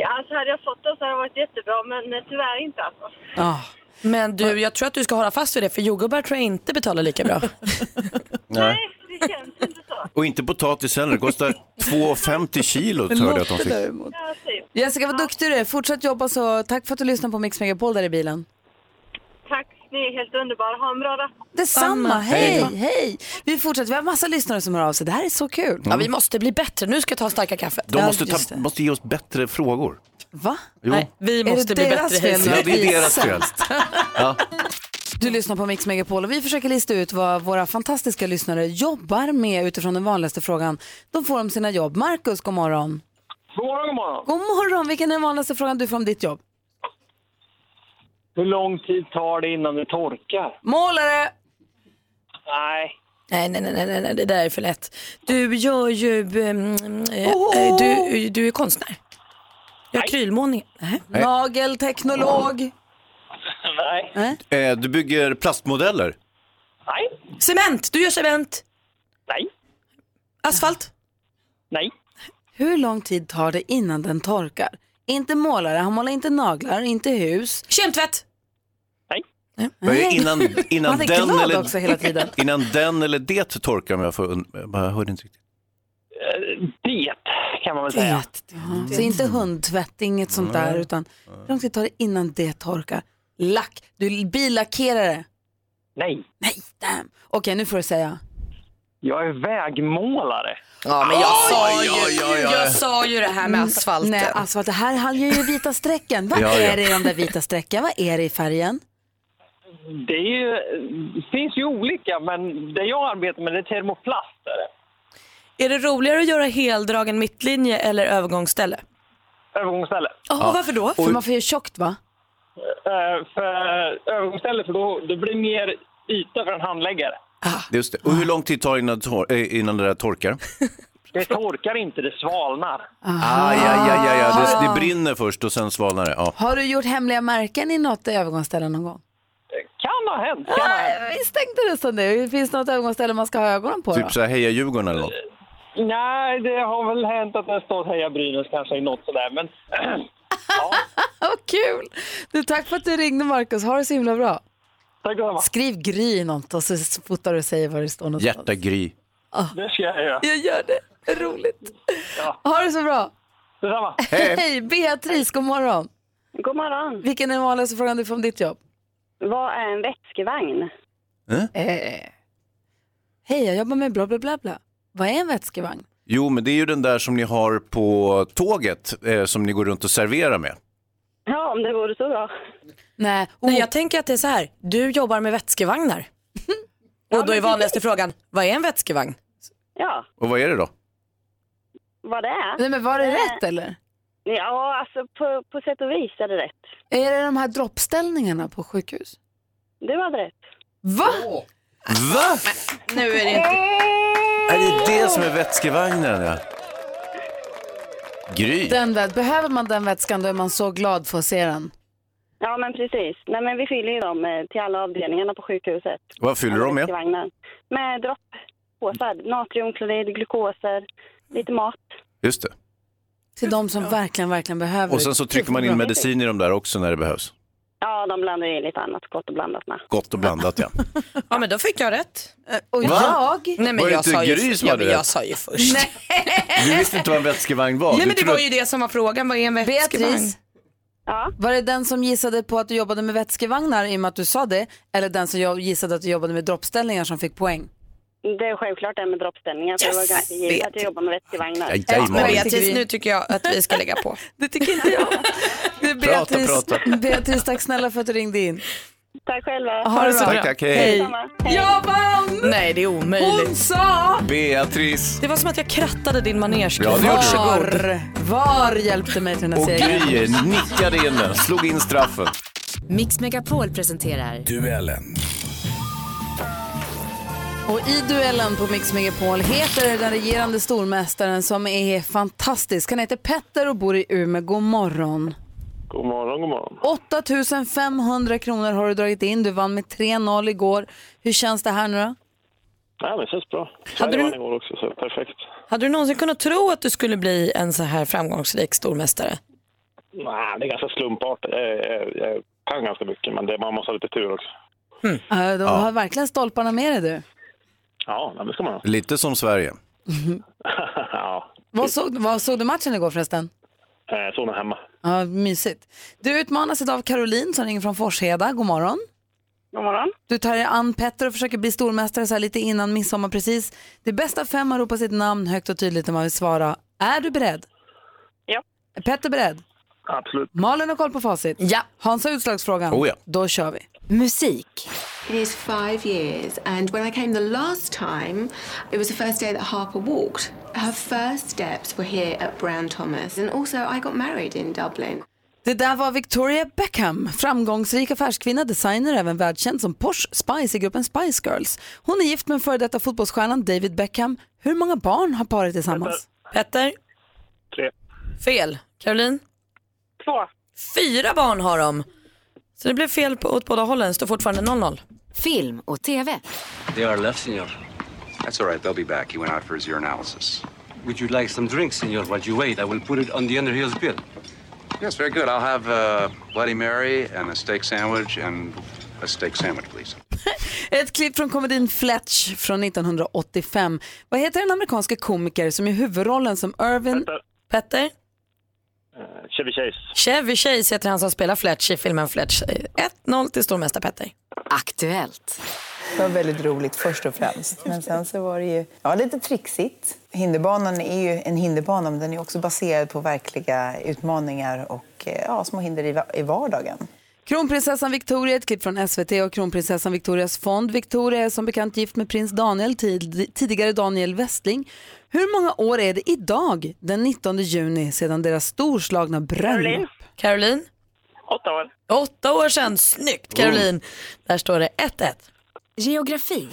E: Ja, alltså hade jag fått det så hade det varit jättebra, men eh, tyvärr inte alltså.
A: Ja.
D: Men du, jag tror att du ska hålla fast vid det för jordgubbar tror jag inte betalar lika bra.
B: Nej.
E: Nej, det känns inte så.
B: Och inte potatis heller. Det kostar 2,50 kilo hörde jag att de fick.
A: däremot.
E: Ja, typ.
A: Jessica, vad duktig du är. Fortsätt jobba så. Tack för att du lyssnade på Mix Megapol där i bilen.
E: Tack, ni är helt underbara. Ha en bra dag.
A: Detsamma.
D: Samma.
A: Hej, hej. Vi fortsätter. Vi har massa lyssnare som hör av sig. Det här är så kul.
D: Ja, vi måste bli bättre. Nu ska jag ta starka kaffet.
B: De
A: Ja,
B: måste,
A: just
B: ta,
A: det.
B: måste ge oss bättre frågor.
A: Va?
B: Jo.
D: Nej, vi
A: Är
D: måste
A: det
D: bli
A: deras
D: bättre.
A: fel
D: Hazel.
A: nu?
B: Ja, det är deras
A: Sämst.
B: fel.
A: Du lyssnar på Mix Megapol och vi försöker lista ut vad våra fantastiska lyssnare jobbar med utifrån den vanligaste frågan de får om sina jobb. Markus, god morgon.
J: God morgon, god morgon.
A: God morgon. Vilken är den vanligaste frågan du får om ditt jobb?
J: Hur lång tid tar det innan det torkar?
A: Målare!
J: Nej.
D: Nej, nej, nej, nej, nej, nej, det där är för lätt. Du gör ju... ehm, eh, eh, du, du är konstnär. Gör akrylmålningar. Nej.
A: Nagelteknolog.
J: Nej.
B: Eh, Du bygger plastmodeller.
J: Nej.
D: Cement! Du gör cement.
J: Nej.
D: Asfalt.
J: Nej.
A: Hur lång tid tar det innan den torkar? Inte målare, han målar inte naglar, inte hus.
D: Kemtvätt.
J: Nej.
B: Vad är Innan, innan,
A: Man är
B: den
A: glad
B: eller,
A: också hela tiden.
B: innan den eller det torkar om jag får... und- Jag hörde inte riktigt.
J: Eh, Det kan man väl säga.
A: Ja, Så inte hundtvätt, inget sånt där, utan hur lång tid tar det innan det torkar? Lack, du billackerar det.
J: Nej.
A: Nej, damn. Okej, nu får du säga.
J: Jag är vägmålare.
D: Ja, men jag sa ju, jag sa ju det här med asfalten.
A: Mm. Nej, asfalt, det här handlar ju om vita strecken. Vad
B: Ja, ja.
A: är det i de där vita strecken? Vad är det i färgen?
J: Det, är ju, det finns ju olika, men det jag arbetar med det är termoplast. Är det.
D: Är det roligare att göra heldragen mittlinje eller övergångsställe?
J: Övergångsställe.
D: Oh, Varför då?
A: För man får ju tjockt va?
J: Eh, För övergångsställe, för då det blir mer yta för en handläggare.
A: Ah.
B: Just det. Och hur lång tid tar det innan, det tor- eh, innan det där torkar?
J: Det torkar inte, det svalnar.
B: Ah, ja, ja, ja, ja. Det,
A: Ah.
B: det brinner först och sen svalnar det. Ja.
A: Har du gjort hemliga märken i något övergångsställe någon gång?
J: Kan ha hänt. Kan ha hänt.
A: Nej, visst tänkte du som det. Finns det något övergångsställe man ska ha ögonen på då?
B: Typ så här Heja Djurgården eller något.
J: Nej, det har väl hänt att det står Heja Brynäs kanske i något sådär, men
A: Vad kul! Du, tack för att du ringde Markus. Ha det så himla bra.
J: Tack detsamma.
A: Skriv Gry i något och så fotar du och säger var det står någonstans.
B: Hjärta Gry.
J: Det ska jag göra.
D: Jag gör det. Roligt.
A: Ha det så bra.
J: Detsamma.
A: Hej. Beatrice, god morgon.
K: God morgon.
A: Vilken är den vanligaste frågan du får om ditt jobb?
K: Vad är en vätskevagn?
B: Äh?
A: Eh, Hej, jag jobbar med bla bla bla bla. Vad är en vätskevagn?
B: Jo, men det är ju den där som ni har på tåget eh, som ni går runt och serverar med.
K: Ja, om det vore så bra.
A: Nej,
D: Nej, jag tänker att det är så här. Du jobbar med vätskevagnar. Och då är vanligaste frågan, vad är en vätskevagn?
K: Ja,
B: Och vad är det då?
K: vad det är.
A: Nej, men var det
K: Eh,
A: rätt eller?
K: Ja, alltså på, på sätt och vis är det rätt.
A: Är det de här droppställningarna på sjukhus?
K: Du hade rätt.
A: Va?
B: Va?
A: Nu är det inte.
B: Är det det som är vätskevagnen? Ja? Gry.
A: Den vä- behöver man den vätskan då är man så glad för att se den.
K: Ja, men precis. Nej, men vi fyller ju dem eh, till alla avdelningarna på sjukhuset.
B: Vad fyller de med?
K: Vätskevagnar. Med dropppåsar, natriumklorid, glukoser, lite mat.
B: Just det.
A: Till de som verkligen, verkligen behöver
B: Och sen så trycker man in medicin i de där också när det behövs.
K: Ja, de blandar ju in lite annat gott och blandat med.
B: Gott och blandat ja.
D: Ja men då fick jag rätt.
A: Och
B: Va?
A: jag?
D: Nej, men
B: Var det
D: jag
B: inte
D: sa ju,
B: Gry som
D: ja,
B: hade
D: men
B: rätt?
D: jag sa ju först. Nej,
B: Du visste inte vad en vätskevagn var.
D: men
B: Du
D: det
B: trodde
D: var ju det som var frågan, vad är en vätskevagn?
A: Beatrice,
K: Ja,
A: var det den som gissade på att du jobbade med vätskevagnar i och med att du sa det? Eller den som jag gissade att du jobbade med droppställningar som fick poäng?
K: det är självklart det med droppställningar. För det var
D: Yes!
K: ganska givet att jag jobbar med vätskevagnar.
B: Aj, aj,
D: Men
A: Malin.
B: Malin.
D: Beatrice, nu tycker jag att vi ska lägga på.
A: Det tycker inte jag. Du,
B: Prata,
A: Beatrice,
B: prata.
A: Beatrice, tack snälla för att du ringde in.
K: Tack själva.
A: Ha det så
B: Tack,
A: bra.
B: tack, hej. Hej.
K: Detsamma. Hej.
A: Jag vann!
D: Nej det är omöjligt.
A: Hon sa!
B: Beatrice.
D: Det var som att jag krattade din manege.
B: Ja, det gjorde du.
A: Var, var hjälpte mig till den här
B: Och
A: segern.
B: Gry nickade in den, slog in straffen.
H: Mix Megapol presenterar
I: Duellen.
A: Och i duellen på Mix Megapol heter den regerande stormästaren som är fantastisk. Han heter Petter och bor i Umeå. God morgon.
J: God morgon, god morgon.
A: 8500 kronor har du dragit in. Du vann med 3-0 igår. Hur känns det här nu då?
J: Ja, men det känns bra.
D: Hade
J: Sverige
D: du-
J: vann igår också, så perfekt.
D: Hade du någonsin kunnat tro att du skulle bli en så här framgångsrik stormästare?
J: Nej, det är ganska slumpartat. Jag, jag, jag kan ganska mycket, men det, man måste ha lite tur också. Hmm.
A: Äh, Du har verkligen stolparna med dig du.
J: Ja, men det ska man ha.
B: Lite som Sverige.
J: ja,
A: Vad såg, vad såg du matchen igår förresten?
J: eh, sonen hemma.
A: Ja, mysigt. Du utmanas idag av Caroline som ringer från Forsheda. God morgon.
K: God morgon.
A: Du tar dig an Petter och försöker bli stormästare så här lite innan midsommar precis. Det bästa av fem man ropar sitt namn högt och tydligt när man vill svara. Är du beredd?
K: Ja.
A: Är Petter beredd?
J: Absolut.
A: Malin har koll på facit.
D: Ja.
A: Hans har utslagsfrågan.
B: Oh ja.
A: Då kör vi.
H: musik.
L: It is five years, and when I came the last time, it was the first day that Harper walked. Her first steps were here at Brown Thomas, and also I got married in Dublin.
A: Det där var Victoria Beckham, framgångsrik affärskvinna, designer, även världskänd som Porsche Spice i gruppen Spice Girls. Hon är gift med en före detta fotbollsstjärnan David Beckham. Hur många barn har paret tillsammans?
D: Petter?
J: Tre.
D: Fel. Caroline?
K: Två.
D: Fyra barn har de. Så det blev fel på, åt båda hållen. Står fortfarande 0-0.
H: Film och TV.
M: They are left, senor. That's all right. They'll be back. He went out for his urinalysis. Would you like some drinks, senor, while you wait? I will put it on the Underhill's bill.
I: Yes, very good. I'll have a Bloody Mary and a steak sandwich and a steak sandwich, please.
A: Ett klipp från komedin Fletch från 1985. Vad heter den amerikanska komiker som är huvudrollen som Irvin...
D: Petter?
J: Eh, Chevy Chase.
D: Chevy Chase heter han som spelar Fletch i filmen Fletch. 1-0 till stormästare Petter.
H: Aktuellt.
L: Det var väldigt roligt först och främst, men sen så var det ju ja, lite trixigt. Hinderbanan är ju en hinderbana, men den är också baserad på verkliga utmaningar och eh, ja, små hinder i, va- i vardagen.
A: Kronprinsessan Victoria, ett klipp från SVT och kronprinsessan Victorias fond. Victoria är som bekant gift med prins Daniel, tid, tidigare Daniel Westling. Hur många år är det idag, den 19 juni, sedan deras storslagna bröllop?
K: Caroline.
D: Caroline?
K: Åtta år.
D: Åtta år sedan. Snyggt Caroline. Där står det 1-1.
H: Geografi.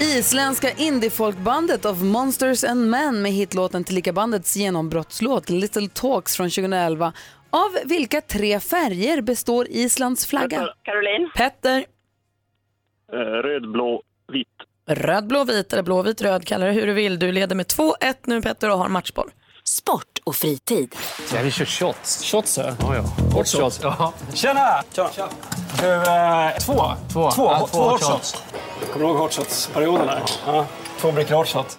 A: Isländska indiefolkbandet of Monsters and Men med hitlåten tillika bandets genombrottslåt Little Talks från 2011. Av vilka tre färger består Islands flagga?
K: Caroline.
D: Petter?
J: Eh, röd, blå, vit.
D: Röd, blå, vit eller blå, vit, röd. Kalla det hur du vill. Du leder med 2-1 nu Petter och har matchboll.
H: Sport och fritid.
N: Ja, vi kör shots. Shots, ja. ja. Hårt shots. Ja. Tjena! Tjena. Du, eh, två. Två, två,
A: Ja, två
N: två hot
A: hot
N: shots. Kommer du ihåg hot shots-perioden? där? Ja. Två brickor hot shot.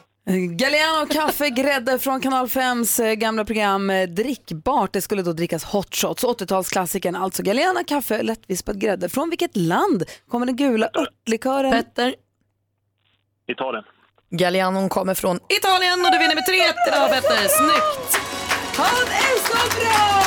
A: Galliano kaffe, grädde från Kanal 5s eh, gamla program eh, Drickbart. Det skulle då drickas hot shots, 80-talsklassikern alltså. Galliano kaffe, lättvispad grädde. Från vilket land kommer den gula örtlikören?
D: Petter.
J: Italien.
D: Gallianon kommer från Italien och du vinner med 3-1 idag Petter. Snyggt!
A: Han är så bra!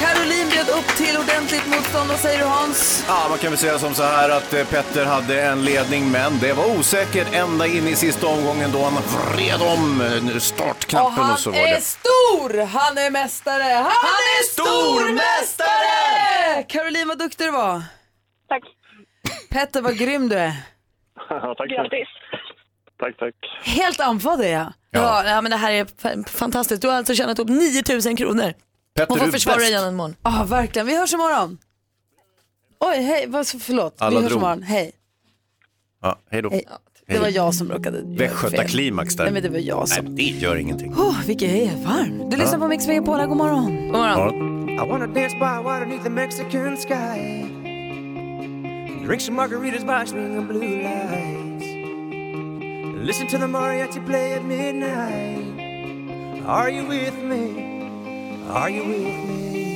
A: Caroline bjöd upp till ordentligt motstånd. Vad säger du Hans?
B: Ja, man kan väl säga som så här att eh, Petter hade en ledning, men det var osäkert ända in i sista omgången då han vred om eh,
A: Och
B: startknappen och,
A: han
B: så var
A: är
B: det.
A: stor! Han är mästare! Han, är stormästare! Caroline, vad duktig du var. Tack. Petter, vad grym du är.
J: tack.
A: Grattis.
J: Tack, tack.
A: Helt andfådd är jag.
D: Ja. ja, men det här är fa- fantastiskt. Du har alltså tjänat upp 9000 kronor.
B: Petter,
D: och får
B: du är
D: försvara
B: bäst.
D: dig igen imorgon.
A: Ja, verkligen. Vi hörs imorgon. Oj, hej. Vad, förlåt.
B: Alla
A: Vi hörs
B: drog.
A: imorgon. Hej.
B: Ja, hej då.
A: Hej. Eh, Det var jag som råkade göra
B: Västgöta
A: fel.
B: klimax där.
A: Nej, men det var jag som...
B: Nej, det gör ingenting.
A: Oh, vilket hej, varm. Du lyssnar på Mix Megapol. God morgon. God
B: Ja.
O: I wanna dance by water beneath the Mexican sky. Drink some margaritas by swing of blue lights. Listen to the mariachi play at midnight. Are you with me? Are you with me?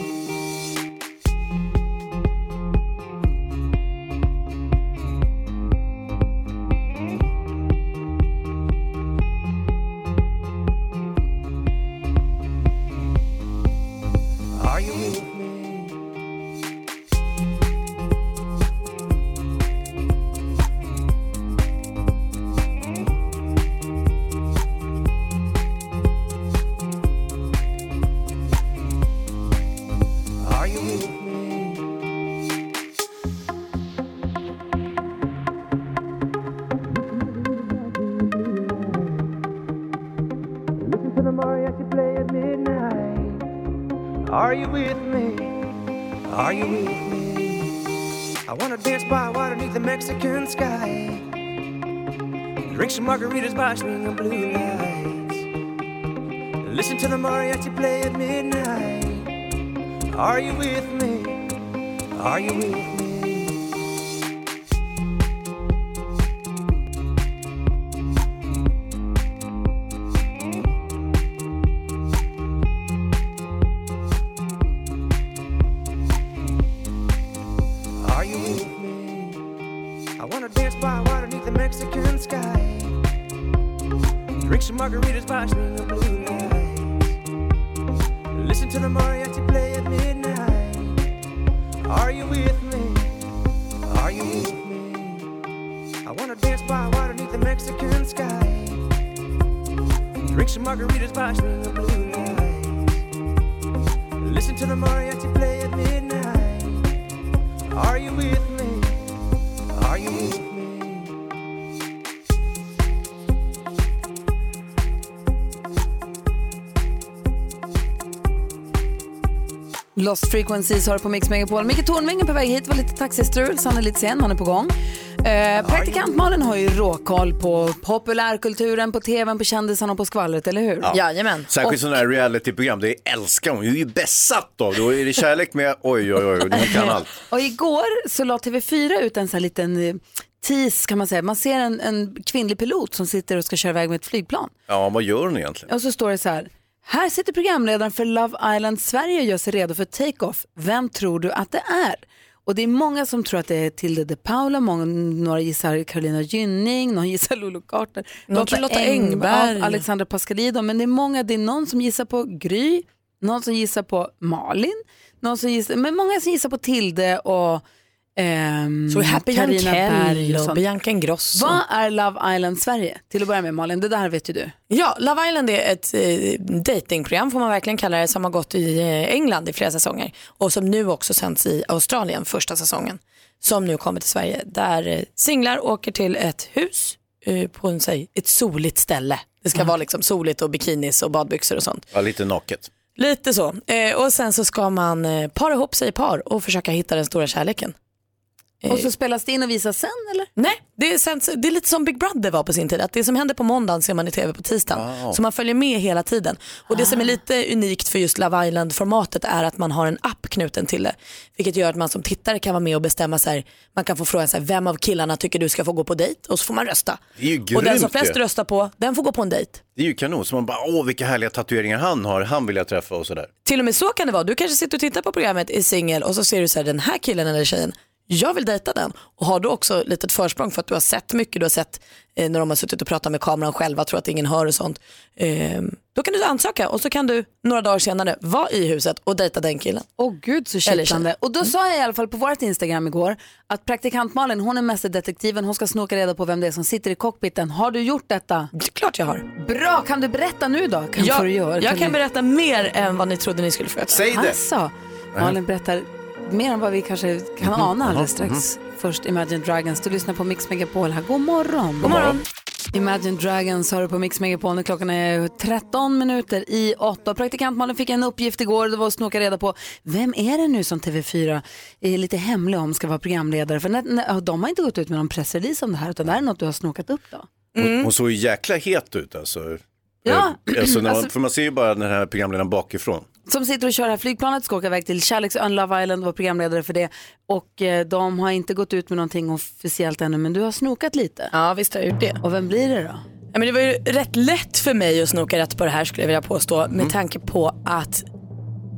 O: Are you with me? Are you with me? Listen to the mariachi play at midnight. Are you with me? Are you with me? I wanna dance by water beneath the Mexican sky. Drink some margaritas by swing of blue lights. Listen to the mariachi play at midnight. Are you with me? Are you with me? Are you with me? I wanna dance by water beneath the Mexican sky. Drink some margaritas by swing of blue lights. Listen to the mariachi play at midnight. Are you with me? Are you with me? I wanna dance by water beneath the Mexican sky. Drink some margaritas by swing of blue lights. Listen to the mariachi play at midnight. Are you with me? Are you with me?
A: Lost Frequencies har du på Mix Megapol. Micke Tornving är på väg hit, var lite taxistrul, så han är lite sen, han är på gång. Eh, praktikant Malin har ju råkoll på populärkulturen, på tvn, på kändisarna och på skvallret, eller hur?
B: Ja. Särskilt sådana här realityprogram, det älskar hon, hon är ju besatt av. Då är det kärlek med, oj oj oj, hon kan allt.
A: Och igår så la TV4 ut en sån här liten eh, tease kan man säga. Man ser en, en kvinnlig pilot som sitter och ska köra iväg med ett flygplan.
B: Ja, vad gör hon egentligen?
A: Och så står det så här. Här sitter programledaren för Love Island Sverige och gör sig redo för take-off. Vem tror du att det är? Och det är många som tror att det är Tilde de Paula, många, några gissar Carolina Gynning, någon gissar Lulu Carter,
D: Någon tror Lotta Engberg.
A: ja, Alexandra Pascalido. Men det är många, det är någon som gissar på Gry, någon som gissar på Malin, någon som gissar, men många som gissar på Tilde och ehm,
D: Så Happy Young
A: Carina Berg
D: Kell och
A: sånt.
D: Bianca Ingrosso.
A: Vad är Love Island Sverige? Till att börja med Malin, det där vet ju du.
D: Ja, Love Island är ett eh, datingprogram får man verkligen kalla det som har gått i eh, England i flera säsonger och som nu också sänds i Australien första säsongen som nu kommer till Sverige där eh, singlar åker till ett hus eh, på en, säg, ett soligt ställe. Det
A: Mm.
D: ska vara liksom soligt och bikinis och badbyxor och sånt.
B: Ja, lite naket.
D: Lite så. Eh, och sen så ska man eh, para ihop sig i par och försöka hitta den stora kärleken.
A: Och så spelas det in och visas sen eller?
D: Nej, det är, sänds- det är lite som Big Brother var på sin tid. Att det som händer på måndagen ser man i tv på tisdagen.
A: Wow.
D: Så man följer med hela tiden. Och det som
A: Ah.
D: är lite unikt för just Love Island-formatet är att man har en app knuten till det. Vilket gör att man som tittare kan vara med och bestämma så här, man kan få frågan så här, vem av killarna tycker du ska få gå på dejt? Och så får man rösta.
B: Det är ju
D: och den som
B: grymt
D: flest
B: ju.
D: röstar på, den får gå på en dejt.
B: Det är ju kanon, så man bara åh vilka härliga tatueringar han har, han vill jag träffa och sådär.
D: Till och med så kan det vara. Du kanske sitter och tittar på programmet i singel och så ser du så här, den här killen eller tjejen, jag vill dejta den. Och har du också litet försprång för att du har sett mycket, du har sett eh, när de har suttit och pratat med kameran själva, tror att ingen hör och sånt. Eh, då kan du ansöka och så kan du några dagar senare vara i huset och dejta den killen.
A: Åh gud så
D: Eller
A: kittlande.
D: tjejer.
A: Och då sa jag i alla fall på vårt Instagram igår att praktikant Malin hon är mästerdetektiven, hon ska snoka reda på vem det är som sitter i cockpiten. Har du gjort detta?
D: Klart jag har.
A: Bra, kan du berätta nu då? Kan
D: jag,
A: får du göra,
D: jag
A: du-
D: kan berätta mer än vad ni trodde ni skulle få veta.
A: Alltså, Malin berättar mer än vad vi kanske kan ana alldeles strax. Först Imagine Dragons, du lyssnar på Mix Megapol här. God morgon. God morgon. Imagine Dragons hör du på Mix Megapol när klockan är 13 minuter i 8. Praktikant Malin fick en uppgift igår, det var att snoka reda på vem är det nu som TV4 är lite hemlig om ska vara programledare? För när, när, de har inte gått ut med någon pressrelease om det här utan det här är något du har snokat upp då.
D: Mm.
B: Hon, hon såg ju jäkla het ut alltså.
A: Ja,
B: Eh, Alltså, när man,
A: alltså-
B: för man ser ju bara den här programledaren bakifrån.
A: som sitter och kör det här flygplanet ska åka iväg till Kärleksön Love Island och var programledare för det. Och eh, de har inte gått ut med någonting officiellt ännu men du har snokat lite.
D: Ja visst har jag gjort det.
A: Och vem blir det då?
D: Ja, men det var ju rätt lätt för mig att snoka rätt på det här skulle jag vilja påstå med tanke på att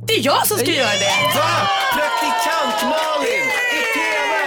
D: det är jag som ska göra det.
B: Va? Praktikant Malin i TV!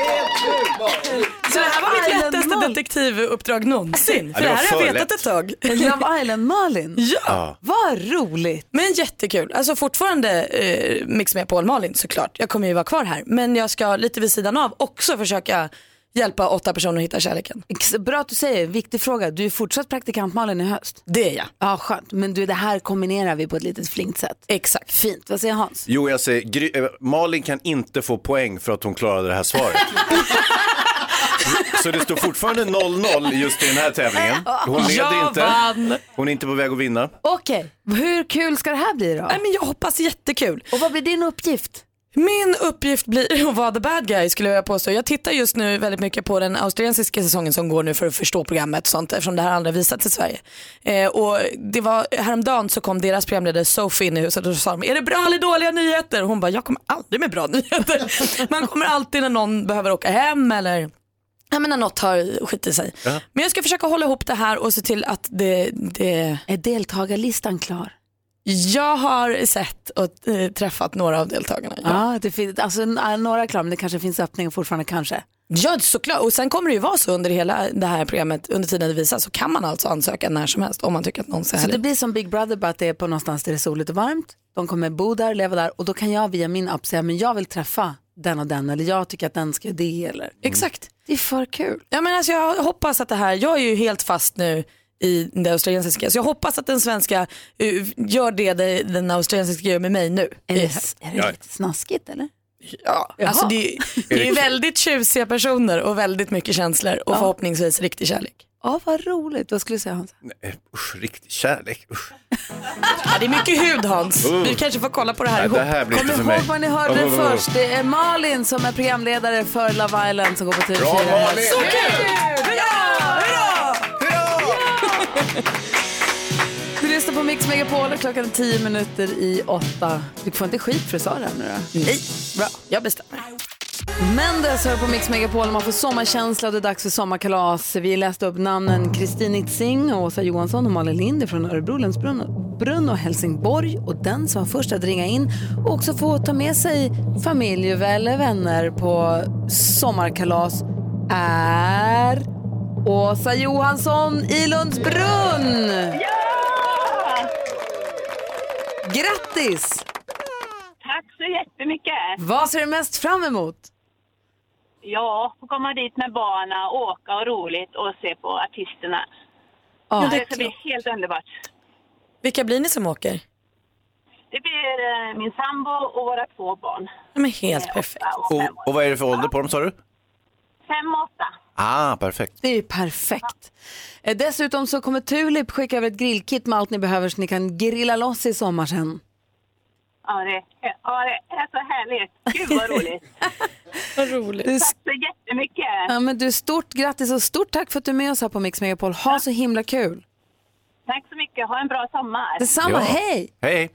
B: Helt underbart!
D: Så det här var mitt
A: Island
D: lättaste detektivuppdrag någonsin. För det
A: Ja, det var
D: här har
A: för
D: jag
A: lätt.
D: vetat ett tag.
A: Love Island-Malin?
D: Ja.
A: Vad roligt.
D: Men jättekul. Alltså fortfarande eh, Mix med Paul Malin såklart. Jag kommer ju vara kvar här. Men jag ska lite vid sidan av också försöka hjälpa åtta personer att hitta kärleken.
A: Ex- Bra att du säger, viktig fråga. Du är fortsatt praktikant Malin i höst.
D: Det är jag.
A: Ja, skönt. Men du, det här kombinerar vi på ett litet flinkt sätt.
D: Exakt.
A: Fint. Vad säger Hans?
B: Jo, jag säger, Gry, eh, Malin kan inte få poäng för att hon klarade det här svaret. Så det står fortfarande 0-0 just i den här tävlingen. Hon leder
D: Jag vann.
B: inte. Hon är inte på väg att vinna.
A: Okej, hur kul ska det här bli då?
D: Nej, men jag hoppas jättekul.
A: Och vad blir din uppgift?
D: Min uppgift blir att vara the bad guy skulle jag påstå. Jag tittar just nu väldigt mycket på den australiensiska säsongen som går nu för att förstå programmet och sånt eftersom det här aldrig visats i Sverige. Eh, och det var, häromdagen så kom deras programledare Sophie in i huset och så sa de, är det bra eller dåliga nyheter? Och hon bara, jag kommer aldrig med bra nyheter. Man kommer alltid när någon behöver åka hem eller Ja, men när något har skit i sig. Men jag ska försöka hålla ihop det här och se till att det... det...
A: Är deltagarlistan klar?
D: Jag har sett och eh, träffat några av deltagarna. Ja.
A: Ja, det finns, alltså, n- några är klara men det kanske finns öppningar fortfarande kanske.
D: Ja, såklart. Och sen kommer det ju vara så under hela det här programmet, under tiden det visas, så kan man alltså ansöka när som helst om man tycker att någon ser
A: Så det
D: härlig ut.
A: blir som Big Brother bara att det är på någonstans där det är soligt och varmt. De kommer bo där, leva där och då kan jag via min app säga men jag vill träffa den och den eller jag tycker att den ska göra det eller.
D: Exakt.
A: Det är för kul.
D: Ja, men alltså, jag hoppas att det här, jag är ju helt fast nu i det australiensiska, så jag hoppas att den svenska eh, gör det det- den australiensiska gör med mig nu.
A: Är det, är det lite snaskigt eller?
D: Ja,
A: Jaha.
D: alltså, det, är- det är ju väldigt tjusiga personer och väldigt mycket känslor och förhoppningsvis riktig kärlek.
A: Ja, vad roligt. Vad skulle du säga Hans?
B: Nej, usch, riktig kärlek. Usch.
D: Ja, det är mycket hud Hans.
B: Uh.
D: Vi kanske får kolla på det här
B: Nej,
D: ihop.
B: det här blir
A: Kom
B: inte för mig.
A: ihåg vad ni hörde
B: Oh, oh, oh, oh.
A: först. Det är Malin som är programledare för Love Island som går på TV4.
B: Bra, Malin!
A: Så kul! Du lyssnar på Mix Megapol och klockan är 10 minuter i åtta. Du får inte skit för att du sa det här nu då?
D: Nej,
A: bra.
D: Jag bestämmer.
A: Mendes hör på Mix Megapol. Man får sommarkänsla och det är dags för sommarkalas. Vi läste upp namnen Kristin Itzing, Åsa Johansson och Malin Linder från Örebro Länsbrunn Brunn och Helsingborg. Och den som var först att ringa in och också få ta med sig familj eller vänner på sommarkalas är Åsa Johansson i Lundsbrunn! Grattis!
P: Tack så jättemycket.
A: Vad ser du mest fram emot?
P: Ja, få komma dit med barnen, åka och roligt och se på artisterna.
D: Ja, det
P: det,
D: är
P: ska bli helt underbart.
D: Vilka blir ni som åker?
P: Det blir eh, min sambo och våra två barn.
D: De är helt perfekt.
B: Och, och vad är det för ålder på dem sa du?
P: Fem och åtta.
B: Ah, perfekt.
A: Det är ju perfekt. Eh, Dessutom så kommer Tulip skicka över ett grillkit med allt ni behöver så ni kan grilla loss i sommar sen.
P: Ja, det, ja, det är så härligt. Gud vad roligt.
A: Vad roligt. Du,
P: Tack så jättemycket.
A: ja, men du, stort grattis och stort tack för att du är med oss här på Mix Megapol. Ha så himla kul.
P: Tack så mycket. Ha en bra sommar.
A: Detsamma, hej!
B: Hej!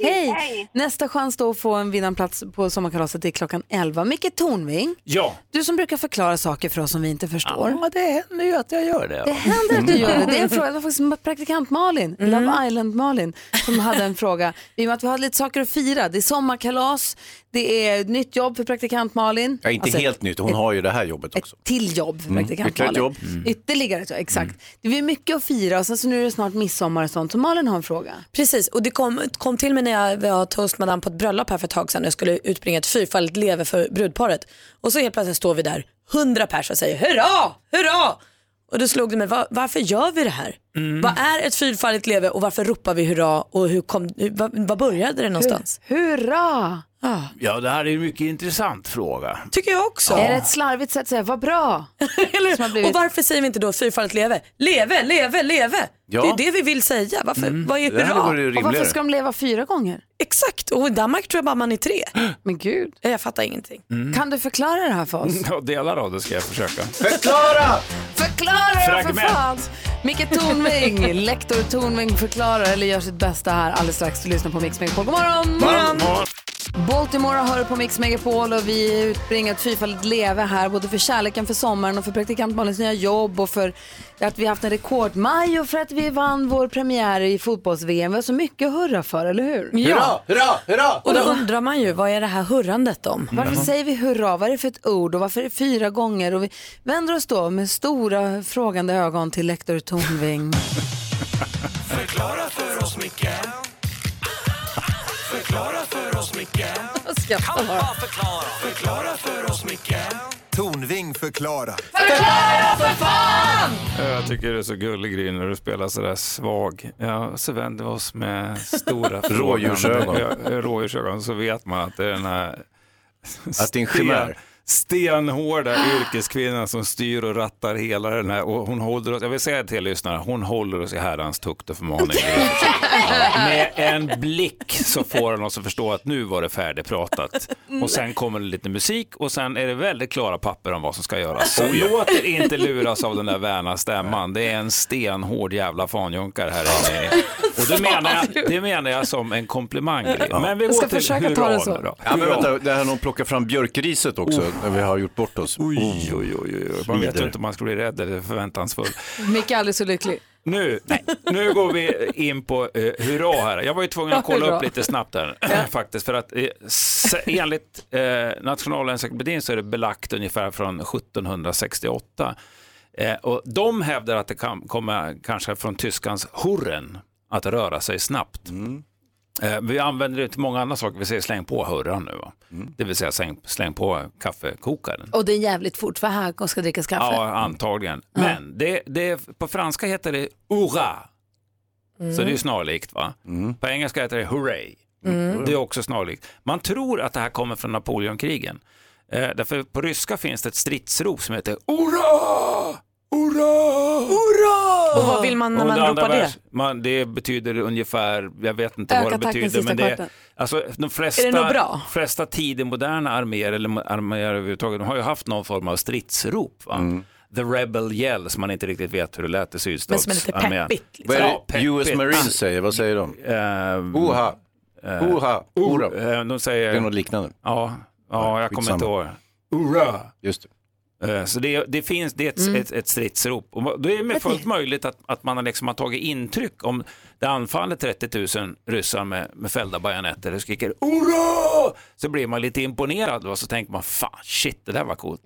P: Hej!
A: Hej! Nästa chans då att få en vinnarplats på sommarkalaset är klockan 11. Micke Tornving,
Q: Ja.
A: du som brukar förklara saker för oss som vi inte förstår.
Q: Ja, det händer ju att jag gör det. Mm.
A: Det händer att du gör det. Det är en fråga, det var faktiskt praktikant Malin, Love Island-Malin, som hade en fråga. I och med att vi har lite saker att fira, det är sommarkalas, det är ett nytt jobb för praktikant Malin.
B: Ja, inte
A: Alltså,
B: helt nytt, hon har ju det här jobbet också.
A: Till jobb för
B: Mm,
A: praktikant
B: ytterligare ett
A: Malin.
B: jobb. Mm.
A: Ytterligare ett jobb, exakt. Det är mycket att fira och sen så nu är det snart midsommar och sånt. Så Malin har en fråga.
D: Precis, och det kom, kom till mig när jag var toastmadam på ett bröllop här för ett tag sedan. Jag skulle utbringa ett fyrfaldigt leve för brudparet. Och så helt plötsligt står vi där, hundra pers och säger hurra, hurra! Och då slog det mig, "Va- varför gör vi det här? Vad är ett fyrfaldigt leve och varför ropar vi hurra och hur kom, hur, var, var började det någonstans?
A: Hurra!
D: Ah,
Q: Ja, det här är en mycket intressant fråga.
D: tycker jag också.
A: Är det ett slarvigt sätt att säga vad bra?
D: Och varför säger vi inte då fyrfaldigt leve? Leve, leve, leve!
Q: Ja.
D: Det är det vi vill säga. Varför,
Q: Mm.
D: Vad är
Q: Det hade
D: hurra?
Q: varit rimligare. Och varför ska
A: de leva fyra gånger?
D: Exakt, och i Danmark tror jag bara man är tre.
A: Men gud.
D: Jag fattar ingenting.
Q: Mm.
A: Kan du förklara det här för
R: Mm.
A: oss?
Q: Ja, delar av det ska jag försöka.
A: Förklara! Förklara det för
Q: Fragment.
A: fan! Micke Tornving, lektor Tornving förklarar eller gör sitt bästa här alldeles strax. Du lyssnar på Mix Megapol. God morgon! Baltimore hör på Mix Megapol och vi utbringar ett fyrfaldigt leve här både för kärleken för sommaren och för praktikant Malins nya jobb och för att vi haft en rekordmaj och för att vi vann vår premiär i fotbolls-VM. Vi har så mycket att hurra för, eller hur?
Q: hurra, hurra!
D: Och då undrar man ju, vad är det här hurrandet om?
A: Varför
R: Mm.
A: säger vi hurra? Vad är det för ett ord och varför är det fyra gånger? Och vi vänder oss då med stora frågande ögon till lektor Tornving.
O: Förklara för oss, Micke. Förklara för oss, Micke.
A: Kan
O: bara förklara. Förklara för oss, Micke. Tonving förklara.
A: Förklara för fan!
R: Jag tycker du är så gullig Gry när du spelar sådär svag. Ja, så vänder vi oss med stora frågan.
B: Rådjursögon.
R: Ja, Rådjursögon. Så vet man att det är den här
B: Att det är en chimär.
R: stenhårda yrkeskvinnan som styr och rattar hela den här. Och hon håller oss, jag vill säga till er lyssnare, hon håller oss i herrans tukt och förmaning. Med en blick så får han oss att förstå att nu var det färdigpratat. Och sen kommer det lite musik och sen är det väldigt klara papper om vad som ska göras. Så
Q: Oh ja.
R: låt er inte luras av den där väna stämman. Det är en stenhård jävla fanjunkare här inne. Och det menar jag, det menar jag som en komplimang.
B: Ja.
R: Men vi går
B: Jag ska
R: till
B: försöka
R: hurra
B: ta det
A: så.
R: nu då.
B: Ja, men
R: Hurra.
B: vänta, det här någon plockar fram björkriset också, när vi har gjort bort oss. Mm. Oj,
R: oj, oj, oj. Man vet ju inte om man ska bli rädd eller förväntansfull.
A: Micke är aldrig så lycklig.
R: Nu, nu går vi in på eh, hurra här. Jag var ju tvungen att
A: Ja,
R: kolla
A: hurra.
R: upp lite snabbt här faktiskt. För att eh, s- enligt eh, Nationalencyklopedin så är det belagt ungefär från 1768. Eh, och de hävdar att det kan komma kanske från tyskans hurren, att röra sig snabbt.
A: Mm.
R: Eh, vi använder det till många andra saker. Vi säger släng på hurran nu. Va?
A: Mm.
R: Det vill säga släng, släng på kaffekokaren.
A: Och det är jävligt fort för här ska drickas kaffe.
R: Ja, antagligen. Men det, det, på franska heter det hurra. Så det är
A: Mm.
R: ju snarlikt va? På engelska heter det hurray.
O: Mm.
R: Det är också snarlikt. Man tror att det här kommer från Napoleonkrigen. Eh, därför på ryska finns det ett stridsrop som heter Hurra! Hurra!
D: Hurra! Och vad vill man när
R: Och
D: man
R: under andra
D: ropar det?
R: världs- Man, det betyder ungefär, jag vet inte
D: Öka
R: vad det
D: takten
R: betyder,
D: sista
R: men det är,
D: kvarten.
R: alltså, de flesta,
D: något bra?
R: flesta tidemoderna arméer, eller arméer överhuvudtaget, de har ju haft någon form av stridsrop. Va?
B: Mm.
R: The Rebel Yell, som man inte riktigt vet hur det lät i
D: Men som är lite
R: sydstatsarmén.
D: peppigt, liksom.
B: Vad
R: Ja,
B: är det
R: peppigt. Ehm,
B: US Marines säger? Vad säger de? Oha,
R: Eh,
B: oha, ora.
R: eh, De säger...
B: Det är något liknande.
R: Ja, ja jag kommer
B: skitsamma.
R: inte ihåg. Hurra! Just det. Eh, Så det, det finns det är ett,
B: Mm.
R: ett, ett stridsrop. Och det är med fullt möjligt att, att man har liksom har tagit intryck om det anfaller 30 000 ryssar med, med fällda bajonetter och skriker hurra! Så blir man lite imponerad och så tänker man fan shit det där var coolt.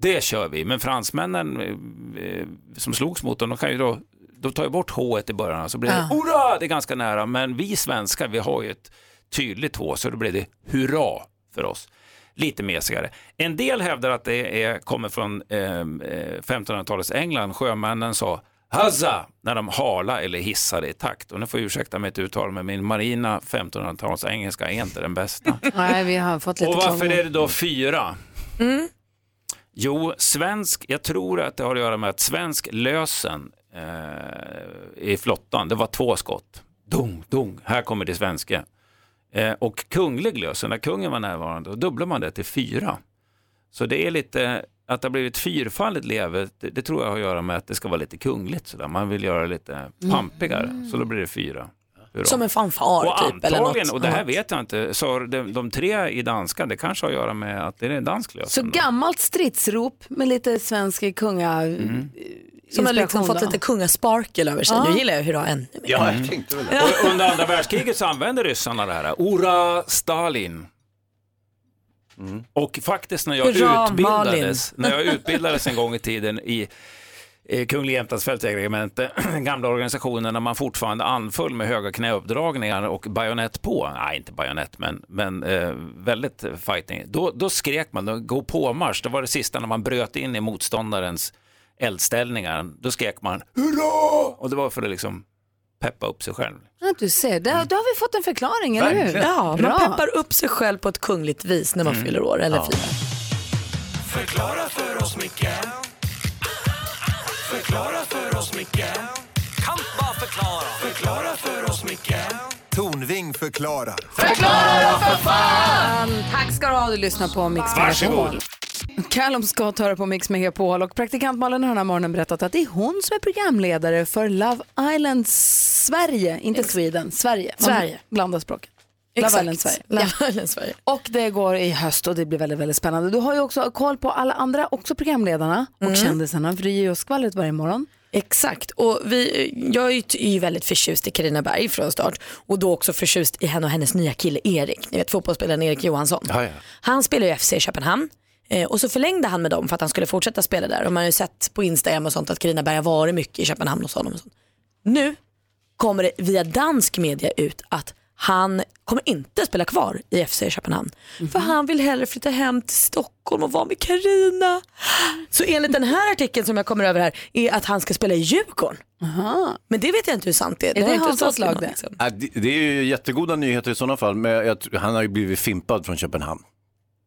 R: Det kör vi, men fransmännen eh, eh, som slogs mot dem, de kan ju då de tar ju bort H i början så blir det
D: Ja.
R: hurra, det är ganska nära, men vi svenskar vi har ju ett tydligt H så då blir det hurra för oss. Lite mesigare. En del hävdar att det är, kommer från eh, eh, 1500-talets England, sjömännen sa Hazza när de hala eller hissade i takt. Och nu får jag ursäkta mitt uttal, men min marina 1500-tals engelska är inte den bästa.
A: Mm. Nej, vi har fått lite
R: Och varför
A: klagomål.
R: är det då fyra?
A: Mm.
R: Jo, svensk, jag tror att det har att göra med att svensk lösen eh, i flottan, det var två skott. Dong, dong, här kommer det svenska. Eh, och kunglig lös, när kungen var närvarande, då dubblar man det till fyra. Så det är lite, att det har blivit fyrfaldigt leve, det, det tror jag har att göra med att det ska vara lite kungligt sådär. Man vill göra det
A: Mm.
R: lite pampigare, så då blir det fyra. Hurra.
D: Som en fanfar
R: och
D: typ. Eller
R: antagligen,
D: något.
R: och det här
D: Ja.
R: vet jag inte, så de, de tre i danska, det kanske har att göra med att det är en dansk lös.
A: Så gammalt stridsrop med lite svensk kunga...
R: Mm.
D: Som har liksom
A: inspiration
D: fått
A: då.
D: lite kungasparkel över sig.
A: Ja.
D: Nu gillar jag hurra ännu mer.
R: Ja, jag tänkte väl det. Mm. Under andra världskriget så använde ryssarna det här. Ora Stalin. Och faktiskt när jag,
D: Hurra,
R: utbildades,
D: Malin.
R: när jag utbildades en gång i tiden i eh, Kungliga Jämtlands regemente, den gamla organisationen när man fortfarande anföll med höga knäuppdragningar och bajonett på, nej inte bajonett men, men eh, väldigt fighting, då, då skrek man då, gå på marsch, det var det sista när man bröt in i motståndarens eldställningar, då skrek man hurra! Och det var för att liksom peppa upp sig själv.
A: Ja, du ser, där, då har vi fått en förklaring, eller hur?
R: Verkligen. Mm.
D: Ja,
A: Bra.
D: man peppar upp sig själv på ett kungligt vis när man fyller år eller
R: Ja.
D: firar.
O: Förklara för oss, Micke Förklara för oss, Micke Kan bara förklara Förklara för oss, Micke Tornving förklarar
A: Förklara för fan! Tack ska du ha, du lyssnar på Mix Megapol.
O: Varsågod.
A: Callum Scott hör på Mix Megapol och praktikant Malin har den här morgonen berättat att det är hon som är programledare för Love Island Sverige, inte Sweden, Sverige. Man
D: Sverige.
A: Blandar språken. Love
D: Exakt.
A: Island Sverige.
D: Love
A: Ja.
D: Island Sverige.
A: Och det går i höst och det blir väldigt, väldigt spännande. Du har ju också koll på alla andra, också programledarna och
D: Mm.
A: kändisarna, för du ger ju oss skvallret varje morgon.
D: Exakt, och vi, jag är ju, är ju väldigt förtjust i Carina Berg från start och då också förtjust i henne och hennes nya kille Erik, ni vet fotbollsspelaren Erik Johansson. Han spelar ju FC i Köpenhamn eh, och så förlängde han med dem för att han skulle fortsätta spela där och man har ju sett på Instagram och sånt att Carina Berg har varit mycket i Köpenhamn hos honom. Och sånt. Nu kommer det via dansk media ut att han kommer inte spela kvar i FC i Köpenhamn.
A: Mhm.
D: För han vill hellre flytta hem till Stockholm och vara med Karina. Så enligt den här artikeln som jag kommer över här är att han ska spela i Djurgården. Men det vet jag inte hur sant det är.
A: Är
D: har
A: det
D: inte
A: Hansas
D: stått i
A: lag
D: någon,
A: det?
D: liksom.
B: Ja, det, det är ju jättegoda nyheter i sådana fall, men jag, tr- han har ju blivit fimpad från Köpenhamn.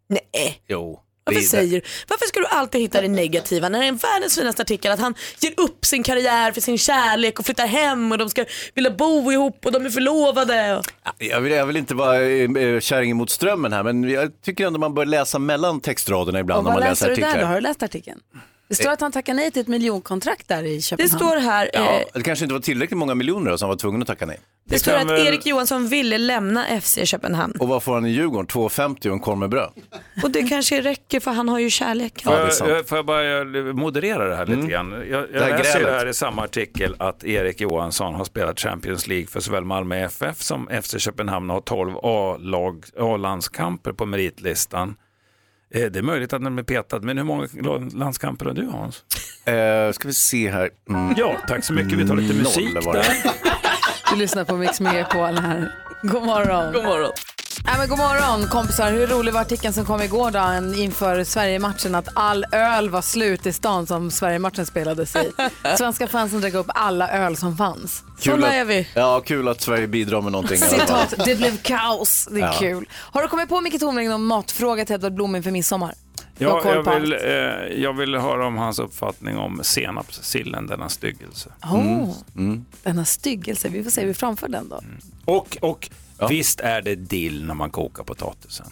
D: Nej.
B: Jo. det är
D: Varför,
B: det.
D: säger, du- varför ska du alltid hitta det negativa när det är världens finaste artikel att han ger upp sin karriär för sin kärlek och flyttar hem och de ska vilja bo ihop och de är förlovade. Och...
B: Jag vill, jag vill inte vara eh, eh, kärringen mot strömmen här, men jag tycker ändå man bör läsa mellan textraderna ibland
A: och
B: när
A: vad läser
B: man läser
A: du
B: artiklar.
A: där då? Har du läst artikeln? Det står
B: Eh.
A: att han tackar nej till ett miljonkontrakt där i Köpenhamn.
D: eh,
R: eh,
B: Ja, det kanske inte var tillräckligt många miljoner då, som var tvungen att tacka nej.
D: Det står att Erik Johansson ville lämna FC Köpenhamn
B: Och vad får han i Djurgården? 2,50 och en korv med bröd?
D: och det kanske räcker för han har ju kärlek.
R: Får, jag, jag- får jag bara moderera det här lite grann? Jag, jag
B: Mm. Det här
R: läser ju
B: grälet.
R: här i samma artikel att Erik Johansson har spelat Champions League för såväl Malmö FF som FC Köpenhamn och har 12 A-lag- A-landskamper på meritlistan. Eh, Det är möjligt att den blir petad, men hur många landskamper har du Hans?
B: Eh, ska vi se här. Mm.
R: Ja, tack så mycket. Vi tar lite
B: Noll
R: musik
B: var det.
R: där.
A: Du lyssnar på Mix Megapol här. God morgon.
D: God morgon.
A: Nej, men god morgon kompisar. Hur rolig var artikeln som kom igår då en- inför Sverige-matchen att all öl var slut i stan som Sverige-matchen spelades i. Svenska fansen drack upp alla öl som fanns.
B: att, Ja, kul att Sverige bidrar med någonting. i alla fall.
A: Citat, det blev kaos. Det är
B: Ja.
A: kul. Har du kommit på Micke Tornving någon matfråga till Edvard Blom inför midsommar? Du har
R: Ja,
A: koll på
R: jag, vill,
A: allt.
R: eh, jag vill höra om hans uppfattning om senapssillen, denna styggelse.
A: Oh.
B: Mm,
A: Denna styggelse, vi får se hur vi framför den då.
R: Och, och visst är det dill när man kokar potatisen?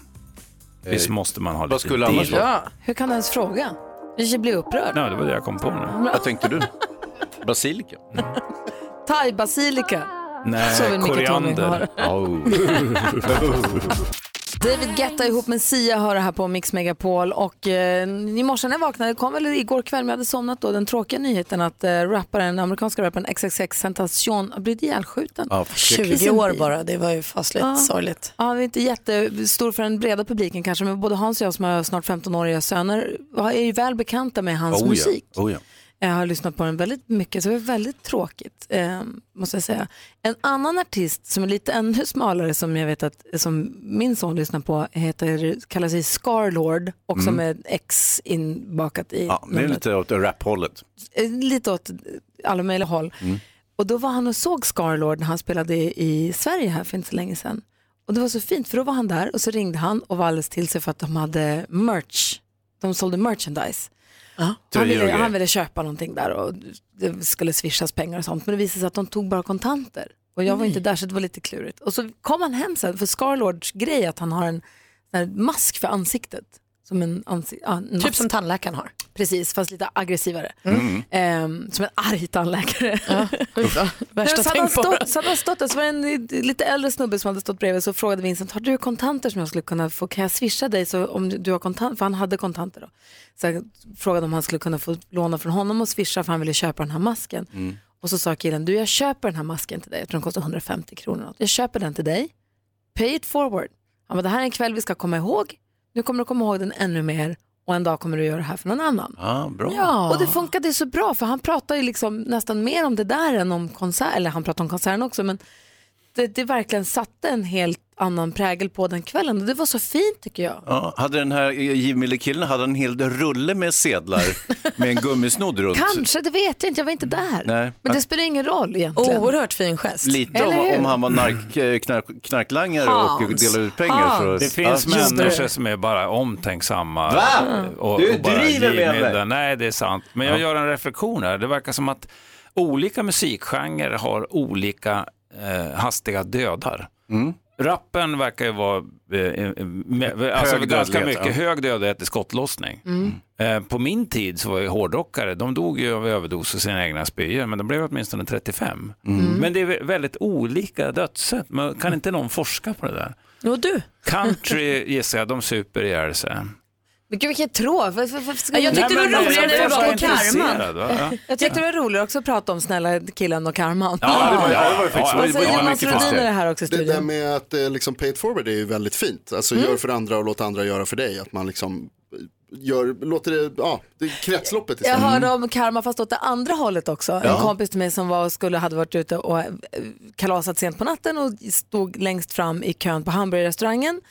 R: Visst måste man ha lite
B: Eh, skulle
R: dill?
B: annars vara?
A: Hur kan du ens fråga? Vi blir upprörd.
R: Nej, det var det jag kom på nu.
A: Vad
B: tänkte du? Basilika?
A: Thai-basilika. Så
R: Nej,
A: vill Micke Tornving ha
R: koriander.
A: det.
B: oh.
A: David Guetta ihop med Sia hör det här på Mix Megapol och eh, i morse när jag vaknade, kom väl igår kväll, men jag hade somnat då, den tråkiga nyheten att eh, rapparen, amerikanska rapparen XXX Sentation har blivit ihjälskjuten.
D: Ja, förskräckligt. 20 år bara, det var ju fasligt sorgligt.
A: Ja, det är inte jättestor för den breda publiken kanske, men både Hans och jag som har snart 15-åriga söner är ju väl bekanta med hans musik.
B: Oh, ja.
A: Jag har lyssnat på den väldigt mycket, så det var väldigt tråkigt, eh, måste jag säga. En annan artist som är lite ännu smalare, som jag vet att som min son lyssnar på, heter, kallar sig Scarlord och som är
B: Mm.
A: X inbakat i
B: Ja, det är
A: namnet.
B: lite åt rap-hållet.
A: Eh, lite åt alla möjliga håll.
B: Mm.
A: Och då var han och såg Scarlord när han spelade i i Sverige här för inte så länge sedan. Och det var så fint för då var han där och så ringde han och var alldeles till sig för att de hade merch. De sålde merchandise. Han,
O: Tröjor och
A: ville,
O: grejer.
A: han ville köpa någonting där och det skulle swishas pengar och sånt. Men det visade sig att de tog bara kontanter. Och jag var inte där så det var lite klurigt. Och så kom han hem sen för Scarlords grej att han har en sån här mask för ansiktet. Som en ansi- ja, en mask.
D: Typ som tandläkaren har.
A: Precis, fast lite aggressivare.
D: Mm.
A: Ehm, som en arg tandläkare.
D: Värsta
A: Nej, men så hade han
D: tänkbara.
A: stått- Så hade han stått där, så var det en lite äldre snubbe som hade stått bredvid så frågade Vincent, har du kontanter som jag skulle kunna få? Kan jag swisha dig så om du har kontanter? För han hade kontanter då. Så jag frågade om han skulle kunna få låna från honom och swisha för han ville köpa den här masken.
D: Mm.
A: Och så sa killen, du jag köper den här masken till dig, jag tror den kostar 150 kronor. eller något. Jag köper den till dig, pay it forward. Han bara, det här är en kväll vi ska komma ihåg, nu kommer du komma ihåg den ännu mer och en dag kommer du göra det här för någon annan.
B: Ah, bra.
A: Och det funkade ju så bra för han pratar ju liksom nästan mer om det där än om konsert, eller han pratar om konserten också men det, det verkligen satte en helt annan prägel på den kvällen och det var så fint tycker jag.
B: Ja, hade den här givmilde-killen hade han en hel rulle med sedlar med en gummisnodd runt?
A: Kanske, det vet jag inte, jag var inte där.
B: Nej.
A: Men det spelar ingen roll egentligen.
D: Oerhört fin gest.
B: Lite om, om han var nark, eh, knark, knarklangare och
A: Hans.
B: delade ut pengar. Så,
R: Det finns
B: Ja, just det.
R: människor som är bara omtänksamma.
B: Va?
R: Och,
B: Du
R: och bara
B: driver med
R: givmilda.
B: mig.
R: Nej, det är sant. Men jag gör en reflektion här. Det verkar som att olika musikgenrer har olika eh, hastiga dödar. Rappen verkar ju vara eh, eh, med, alltså
B: Mm. Hög
R: ganska
B: dödlighet,
R: mycket
B: ja.
R: hög dödlighet i skottlossning.
G: Mm.
R: Eh, på min tid så var ju hårdrockare, de dog ju av överdos och sina egna spyor, men de blev åtminstone 35.
D: Mm.
R: Men det är vä- väldigt olika dödssätt. Men kan inte någon forska på det där?
D: Och du?
R: Country gissar jag, de super ihjäl sig.
A: Men gud vilken tråd. Varför- varför ska
D: Ja, jag
A: vi-
D: tyckte det var
A: Nej, men-
D: roligare när det var
A: jag var
D: på
A: karman.
R: intresserad, va?
A: Jag tyckte det var roligare också att prata om snälla killen och karman.
B: Ja, det var- ja, det var ju faktiskt-
A: Vad säger
B: det var
A: Alltså, Jonas
B: mycket fast
A: Rhodin i
B: det.
A: det här också i
S: Det där
A: studion?
S: med att eh, liksom pay it forward är ju väldigt fint. Alltså
A: Mm.
S: gör för andra och låt andra göra för dig. Att man liksom
F: eh,
S: gör, låter det, ja, det är kretsloppet
A: Jag
S: istället.
A: hörde om karma fast åt det andra hållet också.
S: Ja.
A: En kompis till mig som var och skulle, hade varit ute och eh, kalasat sent på natten och stod längst fram i kön på hamburgerrestaurangen.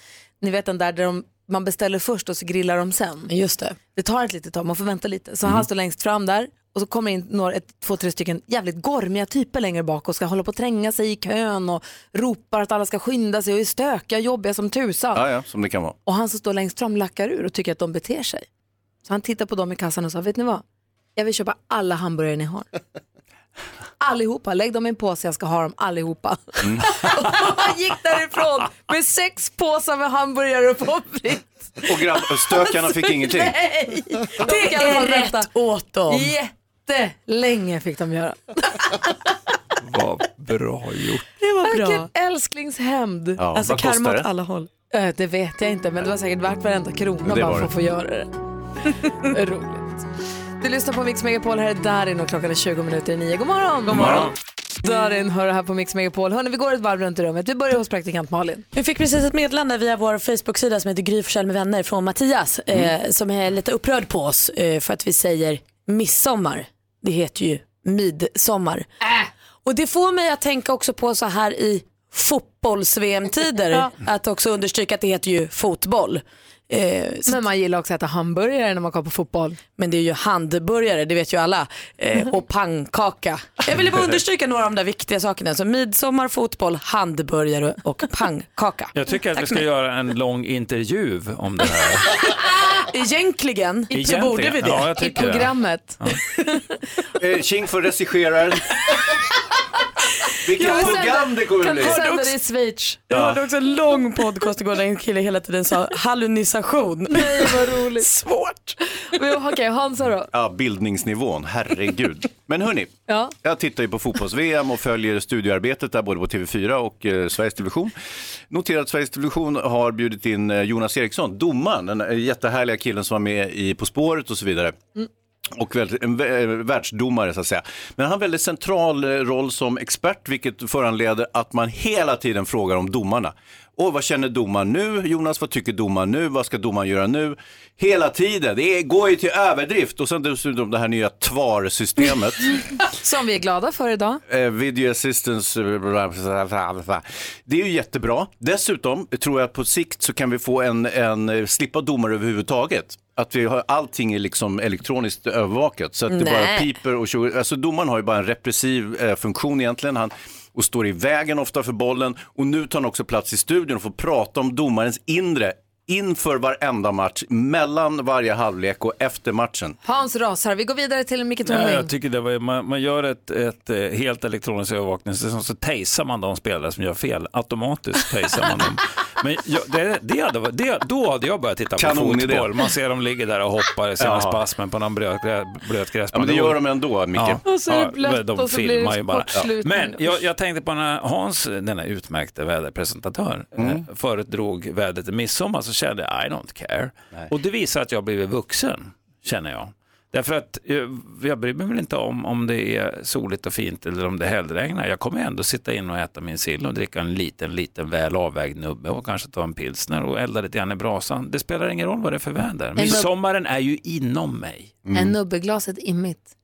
A: Ni vet den där där de, man beställer först och så grillar de sen.
D: Just det.
A: Det tar ett litet tag, man får vänta lite. Så han står längst fram där och så kommer in några, ett, två, tre stycken jävligt gormiga typer längre bak och ska hålla på att tränga sig i kön och ropar att alla ska skynda sig och är stökiga och jobbiga som tusan.
B: Ja, ja, som det kan vara.
A: Och han som står längst fram lackar ur och tycker att de beter sig. Så han tittar på dem i kassan och sa, vet ni vad? Jag vill köpa alla hamburgare ni har. Allihopa, lägg dem i en påse, jag ska ha dem allihopa.
D: Mm.
A: och han gick därifrån med sex påsar med hamburgare och pommes frites.
B: Och grabb, stökarna fick ingenting.
A: Nej,
D: Det
A: kan man
D: är rätt
A: vänta.
D: åt dem.
A: Jättelänge fick de göra.
R: Vad bra gjort.
A: Det
D: var bra.
A: Vilken älsklingshämnd.
R: Ja, Alltså, vad kostar karma åt det?
D: alla håll.
A: Det vet jag inte, men det var säkert värt varenda krona
D: Det
A: bara
D: var
A: för
D: det.
A: att få göra det. Roligt. Du lyssnar på Mix Megapol, här är Darin och klockan är 20 minuter i nio. God morgon!
D: God morgon.
A: Darin hör här på Mix Megapol. Hörni, vi går ett varv runt i rummet. Vi börjar hos praktikant Malin.
D: Vi fick precis ett meddelande via vår Facebook-sida som heter Gry Forssell med vänner från Mattias eh, som är lite upprörd på oss eh, för att vi säger midsommar. Det heter ju midsommar.
A: Äh.
D: Och det får mig att tänka också på så här i fotbolls-VM-tider
A: Ja.
D: att också understryka att det heter ju fotboll. Eh,
A: men man gillar också att äta hamburgare när man kollar på fotboll. Mm-hmm.
D: Men det är ju handburgare, det vet ju alla. Eh, och pannkaka. Jag ville bara understryka några av de där viktiga sakerna. Så midsommar, fotboll, handburgare och pannkaka.
R: Jag tycker att
D: Tack
R: vi
D: för
R: ska göra en lång intervju om det här.
D: Ah, Egentligen,
R: Egentligen,
D: så borde vi det.
R: ja, jag tycker det.
A: programmet.
B: Eh, Tjing för regisseraren. Vilket
D: Ja, men sen-
B: program det kommer
D: kan
B: bli.
D: vi
A: Sen
D: också-
A: är det i Schweiz.
D: Jag hörde också en lång podcast igår där en kille hela tiden sa hallunisation.
A: Nej vad roligt.
D: Svårt.
A: Men Okej, Hansa då?
B: Ja, bildningsnivån, herregud. Men hörni,
A: Ja.
B: jag tittar ju på fotbolls-VM och följer studioarbetet där både på TV4 och eh, Sveriges Television. Noterar att Sveriges Television har bjudit in eh, Jonas Eriksson, domaren, den eh, jättehärliga killen som var med i På spåret och så vidare. Och väl- en vä- eh, världsdomare så att säga. Men han har en väldigt central eh, roll som expert vilket föranleder att man hela tiden frågar om domarna. Och vad känner domaren nu? Jonas, vad tycker domaren nu? Vad ska domaren göra nu? Hela tiden, det är- går ju till överdrift. Och sen dessutom det här nya TVAR-systemet.
A: Som vi är glada för idag.
B: Eh, video assistance, eh, bla, bla, bla, bla. det är ju jättebra. Dessutom tror jag att på sikt så kan vi få en, en eh, slippa domare överhuvudtaget. Att vi har, allting är liksom elektroniskt övervakat så att det bara
T: Nej.
B: piper och tjo. Alltså domaren har ju bara en repressiv eh, funktion egentligen. Han, och står i vägen ofta för bollen och nu tar han också plats i studion och får prata om domarens inre inför varenda match, mellan varje halvlek och efter matchen.
A: Hans rasar. Vi går vidare till Micke
R: Nej,
A: Tornving.
R: jag tycker det var, man, man gör ett, ett eh, helt elektroniskt övervakningssystem så tasar man de spelare som gör fel. Automatiskt tasar man dem. Men jag, det, det hade, varit- det, då hade jag börjat titta på
B: Kanonidé.
R: fotboll. Man ser dem ligga där och hoppar i sina
B: Ja.
R: spasmer på någon blöt, blöt gräsplan.
B: Ja, men det gör de ändå, Micke.
A: Och så är det blött och så blir det
R: filmar ju bara.
A: kortslutning.
R: Men jag, jag tänkte på när Hans, denna utmärkta väderpresentatör, mm. förut drog vädret i midsommar så kände jag I don't care. Och det visar att jag har blivit vuxen, känner jag. Därför att eh, jag bryr mig väl inte om om det är soligt och fint eller om det hällregnar. Jag kommer ändå sitta in och äta min sill och dricka en liten, liten väl avvägd nubbe och kanske ta en pilsner och elda lite grann i brasan. Det spelar ingen roll vad det är för väder.
A: nub-
R: Midsommaren är ju inom mig.
A: Är nubbeglaset immigt?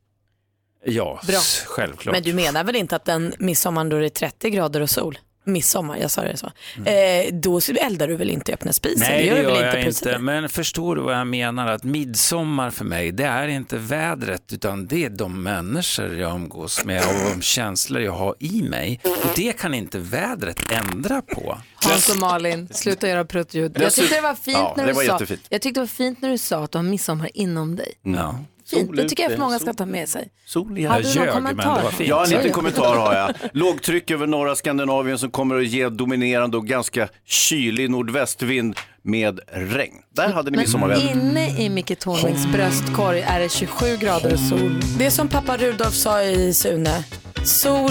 R: Ja,
A: Mm. Bra.
R: s- självklart.
D: Men du menar väl inte att den midsommar då det är 30 grader och sol, midsommar, jag sa det så, eh, då eldar du väl inte i öppna spisen?
R: Nej, det
D: du
R: gör
D: väl
R: jag
D: på
R: inte. Men förstår du vad jag menar? Att midsommar för mig, det är inte vädret, utan det är de människor jag umgås med och de känslor jag har i mig. Och det kan inte vädret ändra på.
A: Hans och Malin, sluta göra pruttljud. Jag
R: Dessutom-
A: tyckte det var fint
R: Ja,
A: när
R: det
A: du
R: var
A: sa,
R: jättefint.
A: jag tyckte det var fint när du sa att du har midsommar inom dig.
R: Ja.
A: Fint, det tycker jag för många ska ta med sig.
B: Sol
A: Hade du någon Jag ljög, kommentar? men det var fint.
B: Ja, en
A: Ja,
B: liten
A: ja.
B: kommentar har jag. Lågtryck över norra Skandinavien som kommer att ge dominerande och ganska kylig nordvästvind med regn. Där hade ni
A: Men
B: midsommarväder.
A: inne i Micke Tornvings bröstkorg är det 27 grader och sol.
D: Det är som pappa Rudolf sa i Sune, sol,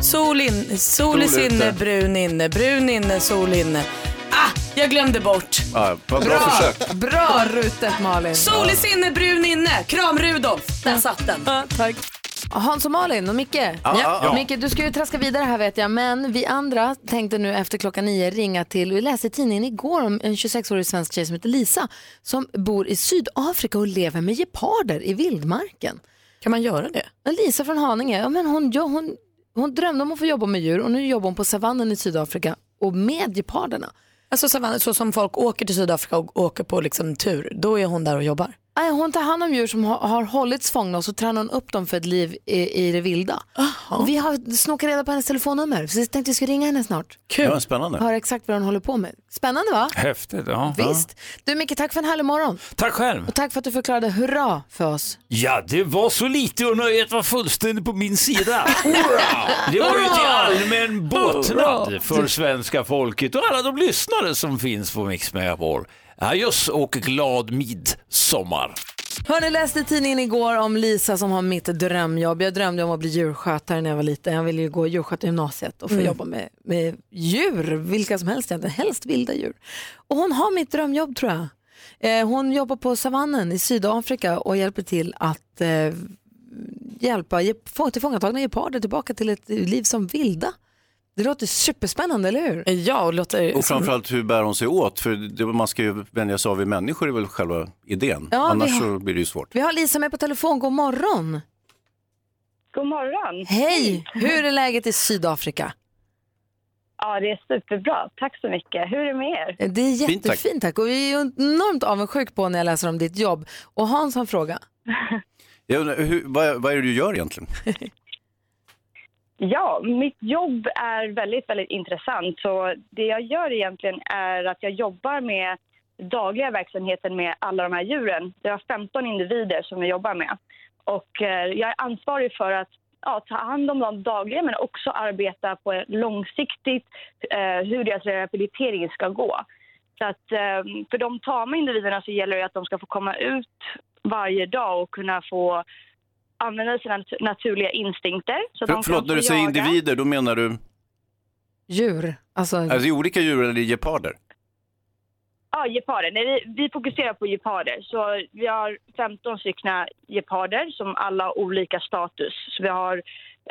D: sol, in, sol, i
B: Sol ute.
D: sinne, brun inne, brun inne, sol inne. Ah, jag glömde bort.
B: Ja, vad bra försök.
A: Bra rutet Malin.
D: Sol i sinne, brun inne, kram Rudolf. Där satt den.
A: tack. Hans och Malin och Micke.
D: ja, ja.
A: Micke, du ska ju traska vidare här vet jag, men vi andra tänkte nu efter klockan nio ringa till, vi läste i tidningen igår om en 26-årig svensk tjej som heter Lisa som bor i Sydafrika och lever med geparder i vildmarken.
D: Kan man göra det?
A: Lisa från Haninge, ja, men hon, ja, hon, hon drömde om att få jobba med djur och nu jobbar hon på savannen i Sydafrika och med geparderna.
D: Alltså savann- så som folk åker till Sydafrika och åker på liksom tur, då är hon där och jobbar.
A: Nej, hon tar hand om djur som har, har hållits fångna och så tränar hon upp dem för ett liv i, i det vilda. Och vi har snokat reda på hennes telefonnummer så vi tänkte vi skulle ringa henne snart.
B: Kul. Ja, spännande.
A: Höra exakt vad hon håller på med. Spännande va?
R: Häftigt, ja.
A: Visst. Du Micke, tack för en härlig morgon.
R: Tack själv.
A: Och tack för att du förklarade hurra för oss.
R: Ja, det var så lite och nöjet var fullständigt på min sida. Det var ju till allmän båtnad för svenska folket och alla de lyssnare som finns på Mix Megapol. Ja, just och glad midsommar.
A: Hörni, jag läste i tidningen igår om Lisa som har mitt drömjobb. Jag drömde om att bli djurskötare när jag var liten. Jag ville ju gå djurskötargymnasiet och få
D: Mm.
A: jobba med, med djur, vilka som helst egentligen, helst vilda djur. Och hon har mitt drömjobb tror jag. Eh, hon jobbar på savannen i Sydafrika och hjälper till att eh, hjälpa ge- få tillfångatagna geparder tillbaka till ett liv som vilda. Det låter superspännande, eller hur?
D: Ja, och låter...
B: Och framförallt hur bär hon sig åt? För det, man ska ju vänja sig av vid människor är väl själva idén.
A: Ja, vi
B: Annars
A: har-
B: så blir det ju svårt.
A: Vi har Lisa med på telefon. God morgon!
U: God morgon!
A: Hej! Hur är läget i Sydafrika?
U: Ja, det är superbra. Tack så mycket. Hur är det med er?
A: Det är jättefint tack. Och vi är ju enormt avundsjuk på när jag läser om ditt jobb. Och Hans har en fråga.
B: Jag undrar, hur, vad, vad är det du gör egentligen?
U: Ja, mitt jobb är väldigt, väldigt intressant. Så det jag gör egentligen är att jag jobbar med dagliga verksamheten med alla de här djuren. Jag har 15 individer som jag jobbar med. Och eh, jag är ansvarig för att ja, ta hand om dem dagligen men också arbeta på ett långsiktigt eh, hur deras rehabilitering ska gå. Så att, eh, för de tama individerna så gäller det att de ska få komma ut varje dag och kunna få använda sina nat- naturliga instinkter. Så att de
B: För,
U: kan
B: förlåt, när
U: få
B: du säger
U: jaga.
B: individer, då menar du,
A: Djur. Alltså,
B: är det olika djur eller geparder?
U: Ja, geparder. Nej, vi, vi fokuserar på geparder. Så vi har 15 stycken geparder som alla har olika status. Så vi har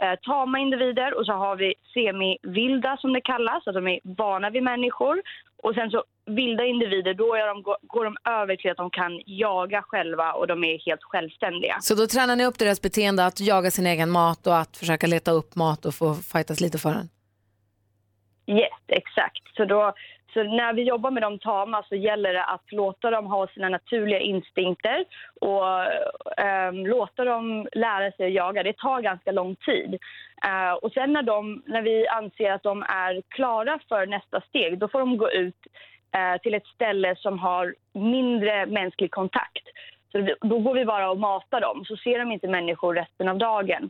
U: eh, tama individer och så har vi semivilda som det kallas, att de är vana vid människor. Och sen så vilda individer, då är de, går- går de över till att de kan jaga själva och de är helt självständiga.
A: Så då tränar ni upp deras beteende att jaga sin egen mat och att försöka leta upp mat och få fightas lite för den.
U: Yes, exakt. Så, då, så när vi jobbar med de tama så gäller det att låta dem ha sina naturliga instinkter och ehm, låta dem lära sig att jaga. Det tar ganska lång tid. Eh, och sen när, de, när vi anser att de är klara för nästa steg, då får de gå ut eh, till ett ställe som har mindre mänsklig kontakt. Så det- då går vi bara och matar dem, så ser de inte människor resten av dagen.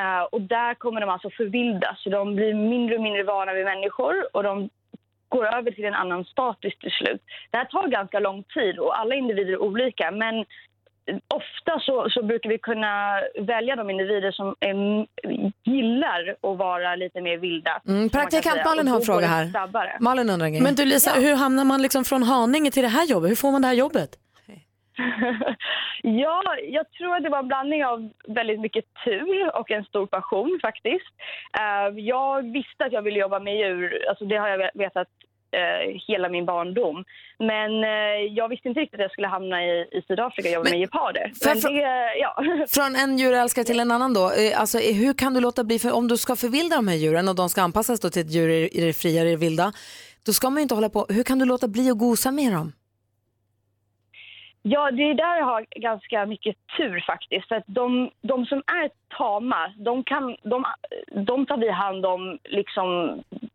U: Eh, och där kommer de alltså förvildas, så de blir mindre och mindre vana vid människor och de går över till en annan status till slut. Det här tar ganska lång tid och alla individer är olika men ofta så, så brukar vi kunna välja de individer som är, gillar att vara lite mer vilda.
A: Mm,
U: som man kan
A: praktikant
U: säga.
A: Malin
U: Och
A: har en
U: då
A: fråga
U: går det
A: här.
U: snabbare.
A: Malin undrar en grej.
D: Men du Lisa, hur hamnar man liksom från Haninge till det här jobbet? Hur får man det här jobbet?
U: Ja, jag tror att det var en blandning av väldigt mycket tur och en stor passion faktiskt. Eh, Jag visste att jag ville jobba med djur, alltså det har jag vetat eh, hela min barndom. Men eh, jag visste inte riktigt att jag skulle hamna i, i Sydafrika och jobba med geparder.
A: får jag
U: Men
A: frå-
U: det, ja.
A: Från en djurälskare till en annan då. Eh, Alltså, eh, hur kan du låta bli, för om du ska förvilda de här djuren och de ska anpassas då till ett djur i i det fria, i det vilda, då ska man ju inte hålla på. Hur kan du låta bli att gosa med dem?
U: Ja, det är där jag har ganska mycket tur faktiskt. För att de, de som är tama, de, kan, de, de tar vi hand om liksom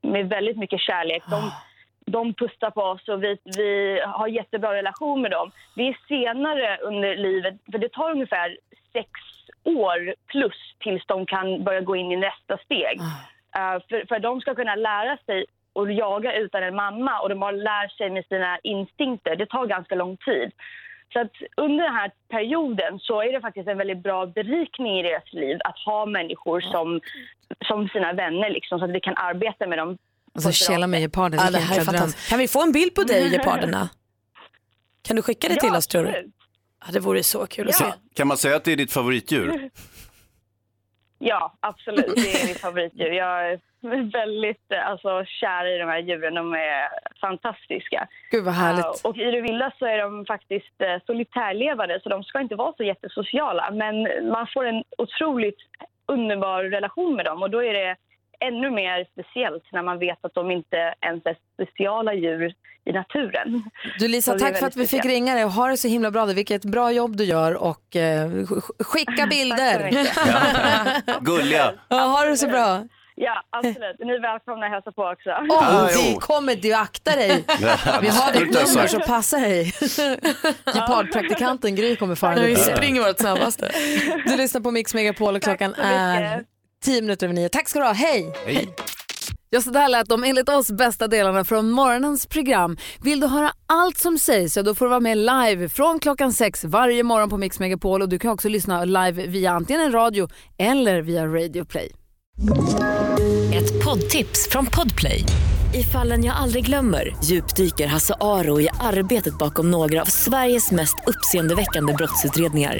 U: med väldigt mycket kärlek. De, de pussar på oss och vi, vi har jättebra relation med dem. Det är senare under livet, för det tar ungefär sex år plus tills de kan börja gå in i nästa steg. Eh, för, för de ska kunna lära sig att jaga utan en mamma och de har lärt sig med sina instinkter. Det tar ganska lång tid. Så att under den här perioden så är det faktiskt en väldigt bra berikning i deras liv att ha människor som, som sina vänner liksom, så att vi kan arbeta med dem.
A: Alltså kela med geparden.
D: Ja, det
A: vilken
D: här är
A: dröm.
D: fantastiskt. Kan vi få en bild på dig och geparderna? Kan du skicka det
U: Ja,
D: till oss tror du?
U: absolut.
D: Ja, det vore så kul att se.
B: Kan man säga att det är ditt favoritdjur?
U: Ja, absolut. Det är mitt favoritdjur. Jag är väldigt eh, alltså, kär i de här djuren. De är fantastiska.
A: Gud vad härligt.
U: Eh, Och i det vilda så är de faktiskt eh, solitärlevande så de ska inte vara så jättesociala. Men man får en otroligt underbar relation med dem och då är det ännu mer speciellt när man vet att de inte ens är speciala djur i naturen.
A: Du Lisa,
U: Så det är
A: tack för att vi
U: väldigt
A: fick
U: speciellt.
A: ringa dig och ha det så himla bra. Vilket bra jobb du gör och eh, sk- skicka bilder.
B: Gulliga.
A: ja, ha det så bra.
U: Ja, absolut. Ni är välkomna att hälsa på också. Ah,
A: Åh, vi kommer, du akta dig. Vi har ditt
U: Sluta,
A: nummer
U: Sara.
A: så passa dig. Gepardpraktikanten Gry kommer farande.
D: Nu
A: dit.
D: springer vårt snabbaste.
A: Du lyssnar på Mix Megapol och klockan är tio minuter över nio. Tack ska du ha, hej!
B: Hej.
A: Ja, så där lät de enligt oss bästa delarna från morgonens program. Vill du höra allt som sägs, ja, då får du vara med live från klockan sex varje morgon på Mix Megapol och du kan också lyssna live via antingen en radio eller via Radio Play.
H: Ett poddtips från Podplay. I fallen jag aldrig glömmer djupdyker Hasse Aro i arbetet bakom några av Sveriges mest uppseendeväckande brottsutredningar.